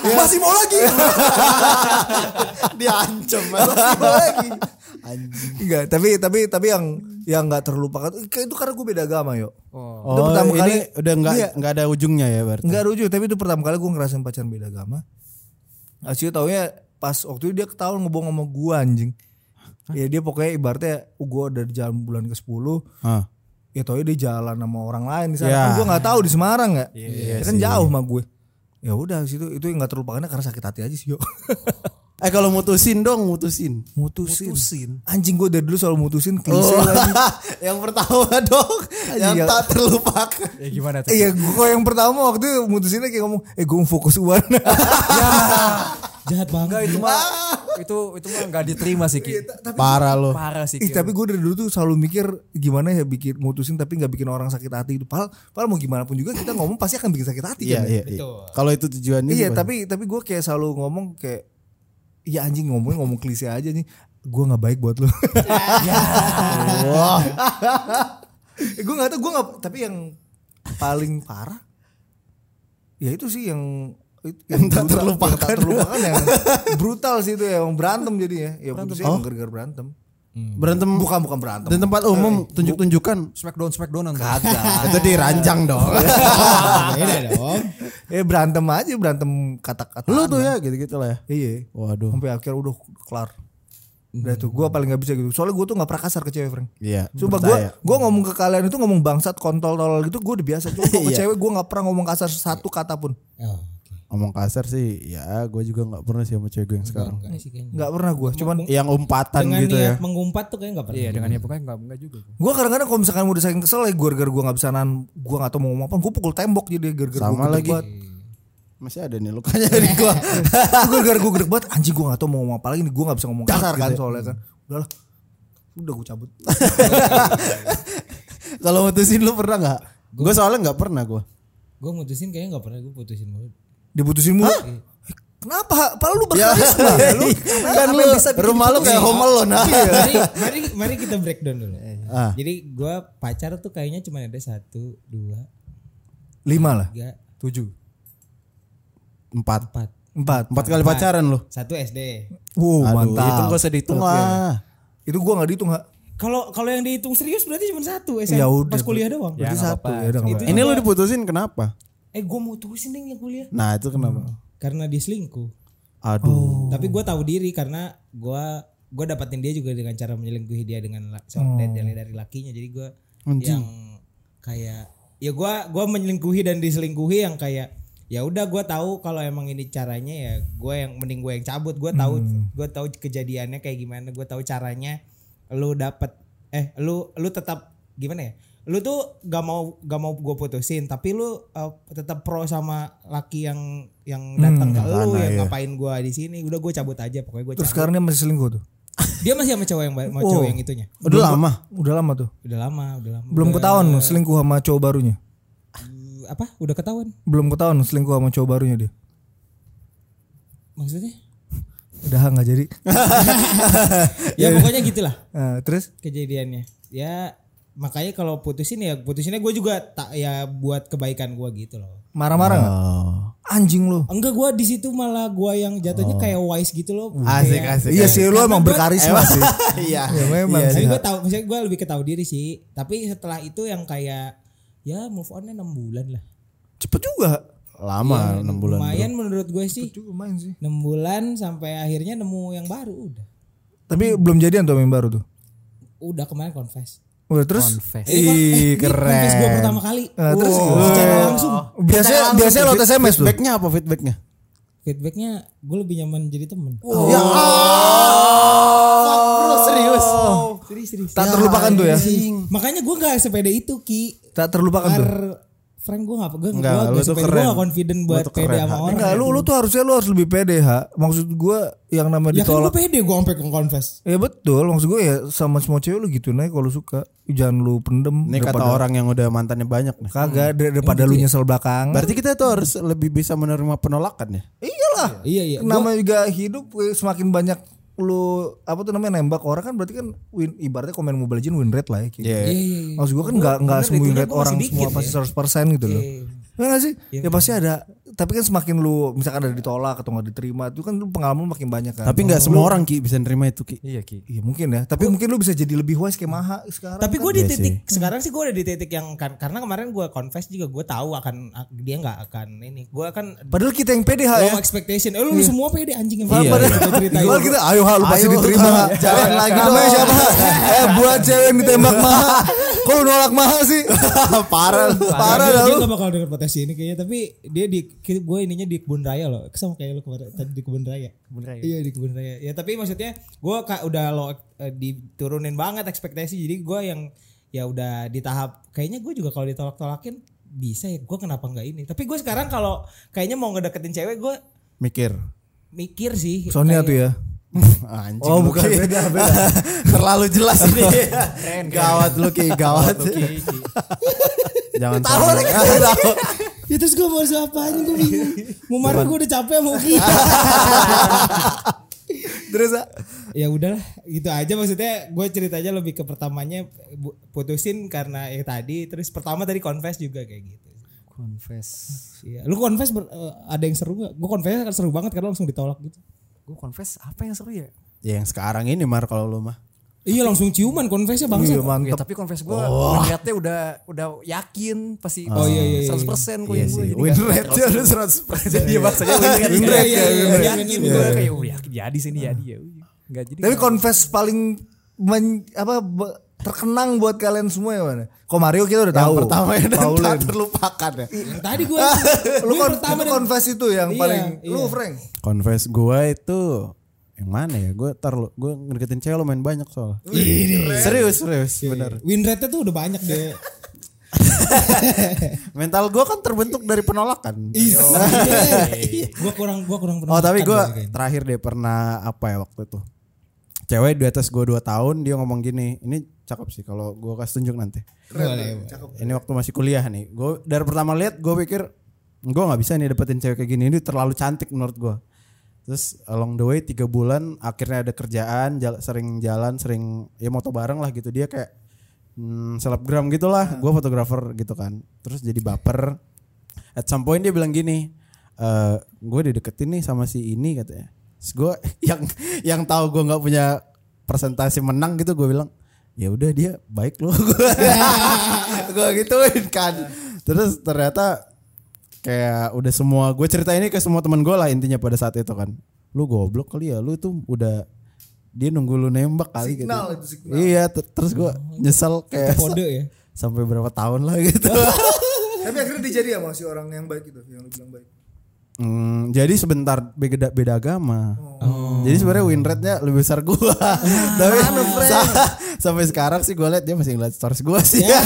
E: Masih mau lagi. [LAUGHS]
C: diancam
E: Enggak, tapi tapi tapi yang yang nggak terlupakan itu karena gue beda agama yo.
A: Oh.
C: oh
E: Itu pertama
C: ini
E: kali-
C: udah nggak
E: Iya.
C: nggak ada ujungnya ya berarti
E: Enggak rujuk, tapi itu pertama kali gue ngerasain pacaran beda agama. Asyik taunya pas waktu itu dia ketahuan ngebohong sama gue anjing. Ya dia pokoknya ibaratnya "Oh, gue dari jalan bulan ke 10
C: Ah.
E: ya taunya dia jalan sama orang lain di sana.
C: Ya.
E: Kan gue nggak tahu di Semarang nggak.
C: Iya
E: Ya kan jauh sama gue. Ya udah situ itu yang nggak terlupakannya karena sakit hati aja sih yo.
C: eh kalau mutusin dong mutusin
E: mutusin. [LAUGHS] Anjing gue dari dulu selalu mutusin klise
C: Oh.
E: [LAUGHS] lagi.
C: yang pertama dong yang
E: Iya.
C: tak terlupakan
A: Ya gimana tuh?
E: Iya, gue yang pertama waktu itu mutusinnya kayak ngomong, eh gue fokus uan.
B: Jahat
A: Enggak
B: banget.
A: itu mah itu itu mah enggak diterima sih Ki.
C: parah lo
A: Parah sih.
E: Ih,
A: Ki.
E: tapi gue dari dulu tuh selalu mikir gimana ya bikin mutusin tapi nggak bikin orang sakit hati itu. Padahal, padahal mau gimana pun juga kita ngomong pasti akan bikin sakit hati
C: iya
E: kan.
C: iya iya. kalau itu tujuannya
E: Iya,
C: sih, [LAUGHS]
E: tapi tapi gue kayak selalu ngomong kayak ya anjing ngomong ngomong klise aja nih. Gue nggak baik buat lu.
C: [LAUGHS] Ya.
E: [LAUGHS]
C: Wah.
E: gue nggak tahu gue nggak tapi yang paling parah ya itu sih yang
C: Yang tak terlupakan.
E: yang, tak
C: [LAUGHS]
E: terlupakan, kan yang brutal sih itu ya yang berantem jadi ya ya putusnya
C: Oh.
E: emang gara-gara berantem
C: berantem
E: bukan bukan berantem
C: dan tempat umum tunjuk-tunjukkan
A: smackdown smackdown
E: kagak
C: itu dirancang dong
B: Beda dong.
E: [LAUGHS] ya berantem aja berantem kata-kata
C: lu tuh ya gitu-gitu lah ya
E: iya
C: waduh
E: sampai akhir udah kelar udah tuh gue paling nggak bisa gitu soalnya gue tuh nggak pernah kasar ke cewek Frank
C: iya
E: Sumpah gue gue ngomong ke kalian itu ngomong bangsat kontol tolol gitu gue udah biasa
C: [LAUGHS]
E: cuma kalau ke
C: Iya.
E: cewek gue nggak pernah ngomong kasar satu kata pun
B: Oh,
C: ngomong kasar sih ya gue juga nggak pernah sih sama cewek gue yang sekarang
B: enggak sih kayaknya.
E: nggak pernah gue cuman
C: yang umpatan
B: Dengan
C: gitu ya
B: niat mengumpat tuh kayaknya enggak pernah.
A: Iya dengan ya pokoknya enggak enggak juga.
E: gue kadang-kadang kalau misalkan udah saking kesel ya gue gara-gara gue nggak bisa nahan gue nggak tau mau ngomong apa gue pukul tembok jadi gara-gara
C: Sama
E: gue
C: lagi. masih ada nih lukanya di [LAUGHS] gue
E: [LAUGHS] gara-gara gue gede banget anjing gue gak tau mau ngomong apa lagi nih gue gak bisa ngomong kasar
C: gitu
E: kan soalnya kan udahlah udah gue cabut
C: kalau mutusin lu pernah nggak gue soalnya nggak pernah gue
B: Gue mutusin kayaknya enggak pernah gue putusin mulu.
E: diputusin mulu Eh, kenapa padahal lu
C: [LAUGHS] ya
E: berkarisma lu
C: kan lu rumah lu kayak home alone ah.
B: Iya. mari, mari, mari kita breakdown dulu.
C: Ah.
B: Jadi gue pacar tuh kayaknya cuma ada satu, dua,
E: lima lah
B: tiga,
A: Tujuh.
C: empat
B: empat.
E: empat
C: empat kali pacaran lu
B: Satu SD.
C: Aduh,
E: wow mantap
C: itu gak usah dihitung ah. lah
E: itu gue gak dihitung ha
B: Kalau kalau yang dihitung serius berarti cuma satu SMP
E: Ya udah,
B: pas kuliah doang.
E: berarti satu ya udah nggak apa-apa.
C: ini lu diputusin kenapa
B: Eh gue mutusin deh yang kuliah
C: nah itu kenapa
B: karena dia selingkuh.
C: aduh
B: Tapi gue tahu diri karena gue gue dapatin dia juga dengan cara menyelingkuhi dia dengan la- so- dan dari, dari lakinya. Jadi gue yang kayak ya gue gua menyelingkuhi dan diselingkuhi yang kayak ya udah gue tahu kalau emang ini caranya ya gue yang mending gue yang cabut. Gue tahu gue tahu kejadiannya kayak gimana. Gue tahu caranya lu dapat eh lu lu tetap gimana ya? Lu tuh gak mau gak mau gue putusin tapi lu eh, tetap pro sama laki yang yang datang ke lu yang ngapain gua di sini udah gue cabut aja pokoknya gue cabut
E: terus sekarang dia masih selingkuh tuh
B: dia masih sama cowok yang ba- sama cowok
E: Oh.
B: yang itunya
C: udah lama
E: udah lama tuh
B: udah lama udah lama
E: belum
B: udah,
E: ketahuan loh selingkuh sama cowok barunya
B: eh, apa udah ketahuan
E: belum ketahuan loh selingkuh sama cowok barunya dia
B: maksudnya
E: udah ha, nggak jadi
B: ya pokoknya gitulah
E: Eh, terus
B: kejadiannya ya makanya kalau putusin ya putusinnya gue juga tak ya buat kebaikan gua gitu loh
E: marah-marah nggak
C: Oh.
E: anjing lu
B: enggak gua di situ malah gua yang jatuhnya kayak wise gitu loh
C: asik
B: Kayak-
C: asik
E: iya sih lu emang berkarisma sih
C: iya
E: ya memang
B: Tapi
E: sih
B: gue tahu, misalnya gue lebih ketahui diri sih. Tapi setelah itu yang kayak ya move onnya enam bulan lah.
E: cepet juga
C: lama enam bulan
B: Lumayan menurut gue sih
E: juga main sih
B: enam bulan sampai akhirnya nemu yang baru udah.
E: Tapi belum jadian tuh sama yang baru tuh.
B: Udah kemarin confess.
E: Udah terus
A: Confess.
B: Ini kon-
E: Ih,
B: ini Confess gue
E: keren.
B: pertama kali.
C: Nah,
E: Eh, terus
B: Wow. Secara langsung.
E: biasanya biasanya lo SMS tuh.
C: Feedbacknya apa feedbacknya?
B: Feedbacknya gue lebih nyaman jadi temen.
C: Ya Allah. serius.
B: Serius, serius.
E: Oh,
B: Iya
E: Tak terlupakan tuh ya.
B: Makanya gue gak sepede itu Ki.
E: Tak terlupakan tuh.
B: Karena Frank gue gak, gue
C: Enggak, lu
B: gak
C: tuh
B: sepede, gue
C: keren.
B: gak confident
C: Lu
B: buat
C: tuh
B: pede
C: keren,
B: sama
C: Hak.
B: orang.
E: Enggak, Nah, lu lu tuh harusnya lu harus lebih pede, ha. Maksud gua yang namanya
B: Ya kan gue
E: ditolak.
B: pede gue sampai ke confess.
E: Ya betul, maksud gua ya sama semua cewek lu gitu naik kalau suka. Jangan lu pendem
C: Ini kata
E: daripada-
C: orang yang udah mantannya banyak nih.
E: kagak
B: Hmm.
E: dar-
B: Iya,
E: daripada lu nyesel belakang.
C: Hmm? Berarti kita tuh harus lebih bisa menerima penolakan ya.
E: Iyalah.
B: Iya iya. Gua-
E: Namanya juga hidup eh, semakin banyak lu apa tuh namanya nembak orang kan berarti kan win ibaratnya komen Mobile Legends win rate lah ya. kayak
C: Iya.
B: Iya iya iya.
E: Maksud gue kan nggak nggak
B: bener,
E: semua
B: itu
E: win
B: kan
E: rate
B: gua masih
E: orang semua
B: dikit Iya,
E: pasti 100% gitu loh. Ya nggak sih? Ya, pasti ada. Tapi kan semakin lu misalkan ada ditolak atau nggak diterima itu kan lu pengalaman makin banyak kan.
C: Tapi nggak semua orang Ki bisa nerima itu Ki.
A: Iya Ki.
E: Iya mungkin ya. Tapi mungkin lu bisa jadi lebih wise kayak Maha sekarang.
B: Tapi gue di
C: Iya
B: titik sekarang sih gue udah di titik yang kar- karena kemarin gue confess juga gue tahu akan ak- dia nggak akan ini. Gue kan
E: Padahal kita yang PDH ya.
B: low expectation. Eh lu semua pede anjing yang
C: Iya,
E: Padahal padahal kita ayo hal lu pasti diterima.
A: [LAUGHS]
E: Ha.
C: Jangan lagi
E: Namanya siapa? Ha? eh buat cewek yang ditembak Maha. Kok lu nolak Maha sih?
C: Parah. lu.
E: Parah
B: dia,
E: dah
B: dia
E: lu.
B: gak bakal denger potensi ini kayaknya tapi dia di gue ininya di kebun raya loh sama kayak lu kemarin tadi di kebun raya
A: Kebun raya.
B: iya di kebun raya ya tapi maksudnya gue kak udah lo eh, diturunin banget ekspektasi jadi gue yang ya udah di tahap kayaknya gue juga kalau ditolak-tolakin bisa ya gue kenapa nggak ini tapi gue sekarang kalau kayaknya mau ngedeketin cewek gue
C: [LAUGHS] Mikir.
B: mikir sih
E: Sonia tuh ya.
C: Anjing.
E: Oh
C: lu,
E: bukan
C: Ki.
E: beda beda.
C: Terlalu jelas nih. Gawat lu Ki, gawat. Jangan Ah, tahu
B: [LAUGHS] ya terus gue mau siapa aja gue bingung mau marah gue udah capek mau gitu
E: [LAUGHS] Terus Ha?
B: ya udahlah gitu aja maksudnya gue ceritanya lebih ke pertamanya bu- putusin karena ya tadi terus pertama tadi confess juga kayak gitu
A: Confess.
B: Iya. lu confess ber- eh, ada yang seru gak? gue confess kan seru banget karena langsung ditolak gitu
A: Gue confess apa yang seru ya?
C: Ya yang sekarang ini Mar kalau lu mah.
B: iya langsung ciuman confessnya bangsa
E: Iya mantap.
A: Ya, tapi confess gue melihatnya udah udah yakin pasti
B: Oh, iya, iya, iya.
A: 100% gue
C: Iya
A: yang
C: sih.
A: gue
C: Win rate dia udah 100%.
A: kan.
E: Iya,
A: Jadi maksudnya gue
B: Win rate, iya, iya, iya,
A: yakin
B: iya,
A: gue kayak "Oh, yakin jadi sih ini jadi ya. Enggak jadi.
E: Tapi confess paling men- apa be- terkenang buat kalian semua yang mana? Kok Mario kita udah tahu.
C: Pertama ya dan
E: Paulin.
C: tak terlupakan ya.
B: yang tadi gue
E: [LAUGHS] lu kon lu
B: dan-
E: confess itu yang
B: Iya,
E: paling lu
B: iya.
E: Frank.
C: Confess gua itu yang mana ya? Gue tar lu, gue ngedeketin cewek lumayan banyak soal. Iya. serius serius bener.
B: win rate tuh udah banyak deh
C: Mental gua kan terbentuk dari penolakan.
B: gue Iya. kurang gue kurang
C: Oh tapi gue
B: penolakan deh, kayaknya.
C: terakhir deh pernah apa ya waktu itu cewek di atas gue 2 tahun dia ngomong gini ini cakep sih kalau gue kasih tunjuk nanti
B: Boleh, boleh.
C: ini waktu masih kuliah nih gue dari pertama lihat gue pikir gue nggak bisa nih dapetin cewek kayak gini ini terlalu cantik menurut gue terus along the way tiga bulan akhirnya ada kerjaan jal- sering jalan sering ya moto bareng lah gitu dia kayak hmm, selebgram gitulah gue fotografer gitu kan terus jadi baper at some point dia bilang gini eh gue dideketin nih sama si ini katanya terus gue [LAUGHS] yang yang tahu gue nggak punya presentasi menang gitu gue bilang ya udah dia baik loh [LAUGHS] gue gituin kan terus ternyata kayak udah semua gue cerita ini ke semua teman gue lah intinya pada saat itu kan lu goblok kali ya lu tuh udah dia nunggu lu nembak kali gitu
E: Signal itu, signal.
C: iya ter- terus gue nyesel kayak
B: kode ya
C: [LAUGHS] sampai berapa tahun lah gitu
E: Tapi akhirnya dia jadi ya masih orang yang baik itu yang lu bilang baik.
C: Hmm, jadi sebentar beda beda agama.
A: Oh.
C: Jadi sebenarnya win rate-nya lebih besar
A: [LAUGHS]
C: gua. Tapi sa- sampai sekarang sih gua lihat dia masih ngeliat stories gua sih.
A: Ya.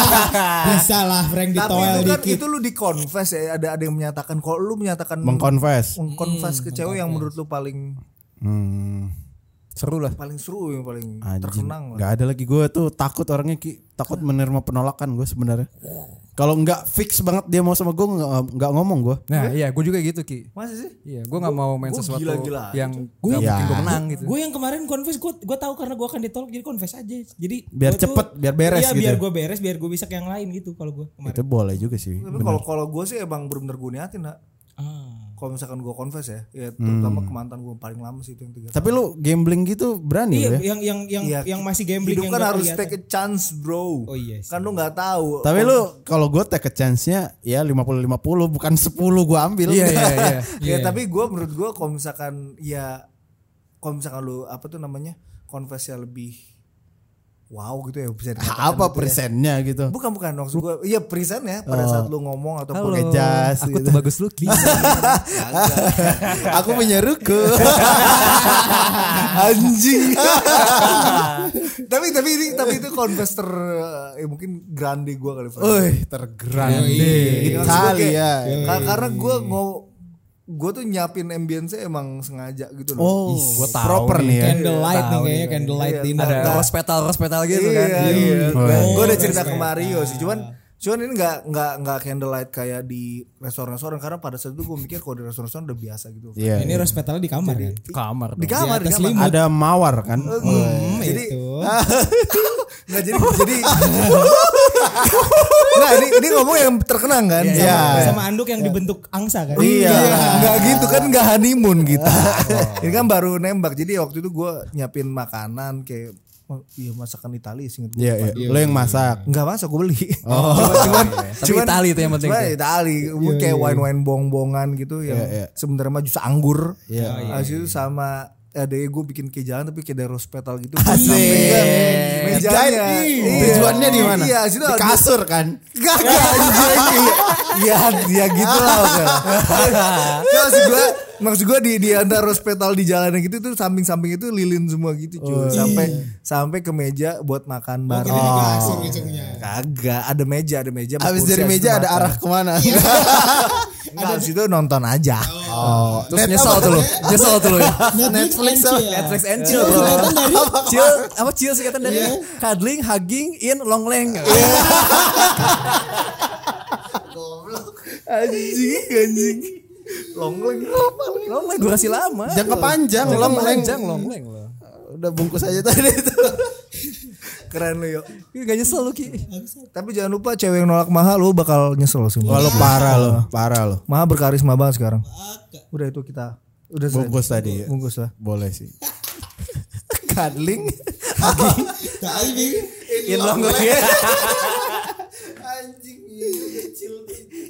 B: bisa lah Frank
E: Tapi
B: ditoel
E: itu kan
B: dikit
E: itu lu di confess ya ada ada yang menyatakan kalau lu menyatakan
C: [LAUGHS] Mengkonfes.
E: mengconfess ke cewek yang menurut lu paling
C: Hmm. Seru lah.
E: paling seru yang paling
C: Anjing.
E: terkenang lah.
C: Gak ada lagi gua tuh takut orangnya Ki. takut menerima penolakan gua sebenarnya. Kalau nggak fix banget dia mau sama gua nggak- nggak ngomong gua.
A: Nah, iya gue juga gitu Ki.
E: Masa sih?
A: Iya, gue nggak mau main
E: gua
A: sesuatu
E: gila-gilaan,
A: yang gak mungkin
B: Gua-
C: Iya.
A: gue menang gitu.
B: Gue yang kemarin confess gue gue tahu karena gue akan ditolak jadi confess aja. Jadi
C: Biar
B: gua tuh-
C: cepet, biar beres
B: iya,
C: gitu
B: biar
C: ya.
B: gue beres, biar gue bisa ke yang lain gitu kalau gue kemarin.
C: Itu boleh juga sih.
E: Tapi kalau kalau gue sih emang bener-bener gue niatin lah.
B: Ah.
E: Kalau misalkan gue confess ya, ya
B: Hmm.
E: terutama ke mantan gue paling lama sih itu yang tiga.
C: Tapi lu gambling gitu berani
B: Iya,
C: lu ya?
B: yang yang yang
E: Iya,
B: yang masih gambling
E: Hidup
B: yang
E: kan
B: nggak
E: harus
B: kelihatan.
E: take a chance bro.
B: Oh, iya sih.
E: Kan lu nggak tahu.
C: Tapi lu kalau gue take a chance-nya ya 50-50 bukan 10 gua ambil.
A: Iya, iya, iya.
E: ya tapi gue menurut gue kalau misalkan ya kalau misalkan lu apa tuh namanya konversinya lebih wow gitu ya bisa
C: apa
E: dikatakan gitu ya.
C: persennya gitu
E: bukan bukan maksud gua iya persen ya
B: Oh.
E: pada saat lu ngomong atau
A: Halo,
B: [LAUGHS]
E: pakai
C: Pakai jas
A: aku
C: gitu.
A: tuh bagus looking.
C: aku punya [LAUGHS] ruko
B: [LAUGHS]
C: anjing
E: tapi tapi ini tapi itu converse ter ya mungkin grande gua kali Fran.
B: Oh,
C: Wih,
A: Iya,
C: tergrande
E: Gitu, maksud gua kayak-
C: Italia
E: ka- karena gua mau gua tuh nyiapin ambience emang sengaja gitu
C: oh
E: loh
A: gua tahu
C: proper nih ya
B: Candlelight nih kayaknya candlelight
E: Iya,
B: dinner.
A: Ada hospital hospital gitu kan.
E: iya, iya.
C: Wah.
E: Gue udah cerita
B: Respect.
E: ke Mario sih, cuman cuman ini nggak nggak nggak candlelight kayak di restoran-restoran karena pada saat itu gue mikir kalau di restoran-restoran udah biasa gitu.
C: Iya.
B: Ini hospitalnya di kamar kan.
A: Kamar.
E: Di
A: dong.
E: kamar, di
B: atas
E: kamar.
B: lim-
C: ada mawar kan
B: Hmm,
E: Jadi
B: itu.
E: [LAUGHS] nggak jadi jadi. nah ini ini ngomong yang terkenang kan?
C: Iya.
B: Sama anduk yang dibentuk angsa
C: Oh,
B: kan.
E: Iya, nggak gitu kan nggak honeymoon
C: [LAUGHS]
E: gitu. Ini kan baru nembak, jadi waktu itu gue nyiapin makanan kayak, oh, iya masakan Italia sih.
C: Iya, Oh, iya. lo yang masak
E: Nggak masak gue beli. [LAUGHS]
A: Cuman,
C: iya.
A: tapi Itali itu yang penting.
C: ya?
E: Cuma Itali, kayak wine-wine bong-bongan gitu yang sebenarnya mah jus anggur. Nah,
C: Iya.
E: Habis itu sama ada gue bikin kayak jalan tapi kayak dari hospital gitu.
C: Asik.
E: Sampai ke Mejanya.
C: Guide,
E: Iya.
C: Tujuannya di mana?
E: Iya, situ
C: di
E: ada-
C: kasur kan.
E: Gak gak anjing Iya, Ya ya gitu lah Gak, Maksud gue Maksud gue di, di antara hospital di jalan yang gitu tuh Samping-samping itu lilin semua gitu cuy Sampai sampai ke meja buat makan bareng
B: Kita di kasur ujungnya.
E: Kagak Ada meja Ada meja sama
C: Habis
E: kursi,
C: dari
E: habis itu
C: meja ada
E: makan.
C: arah kemana? [LAUGHS]
E: Nggak, habis itu nonton aja
C: Oh,
A: Terus nyesel tuh lo, nyesel tuh ya. lo.
B: Nah, Netflix and chill.
A: Netflix and chill.
B: Itu kelihatan dari
A: Chill, [LAUGHS] apa chill sih kata dari cuddling, hugging, in long leng.
E: Anjing Anjing Longleng
A: Long leng durasi lama.
C: jangka panjang
A: Long
C: long leng.
A: panjang long leng lo.
C: Udah bungkus aja tadi itu.
E: Keren lu yuk
A: Ih, Gak nyesel lo Ki.
E: Tapi jangan lupa cewek yang nolak mahal Lu bakal nyesel sih
C: Wah, lo parah lo, parah lo.
E: Maha berkarisma banget sekarang Udah itu kita Udah selesai.
C: Bungkus tadi. ya.
E: Bungkus lah
C: Boleh sih. Cuddling
B: Tai, Bing.
A: In long leng.
C: anjing kecil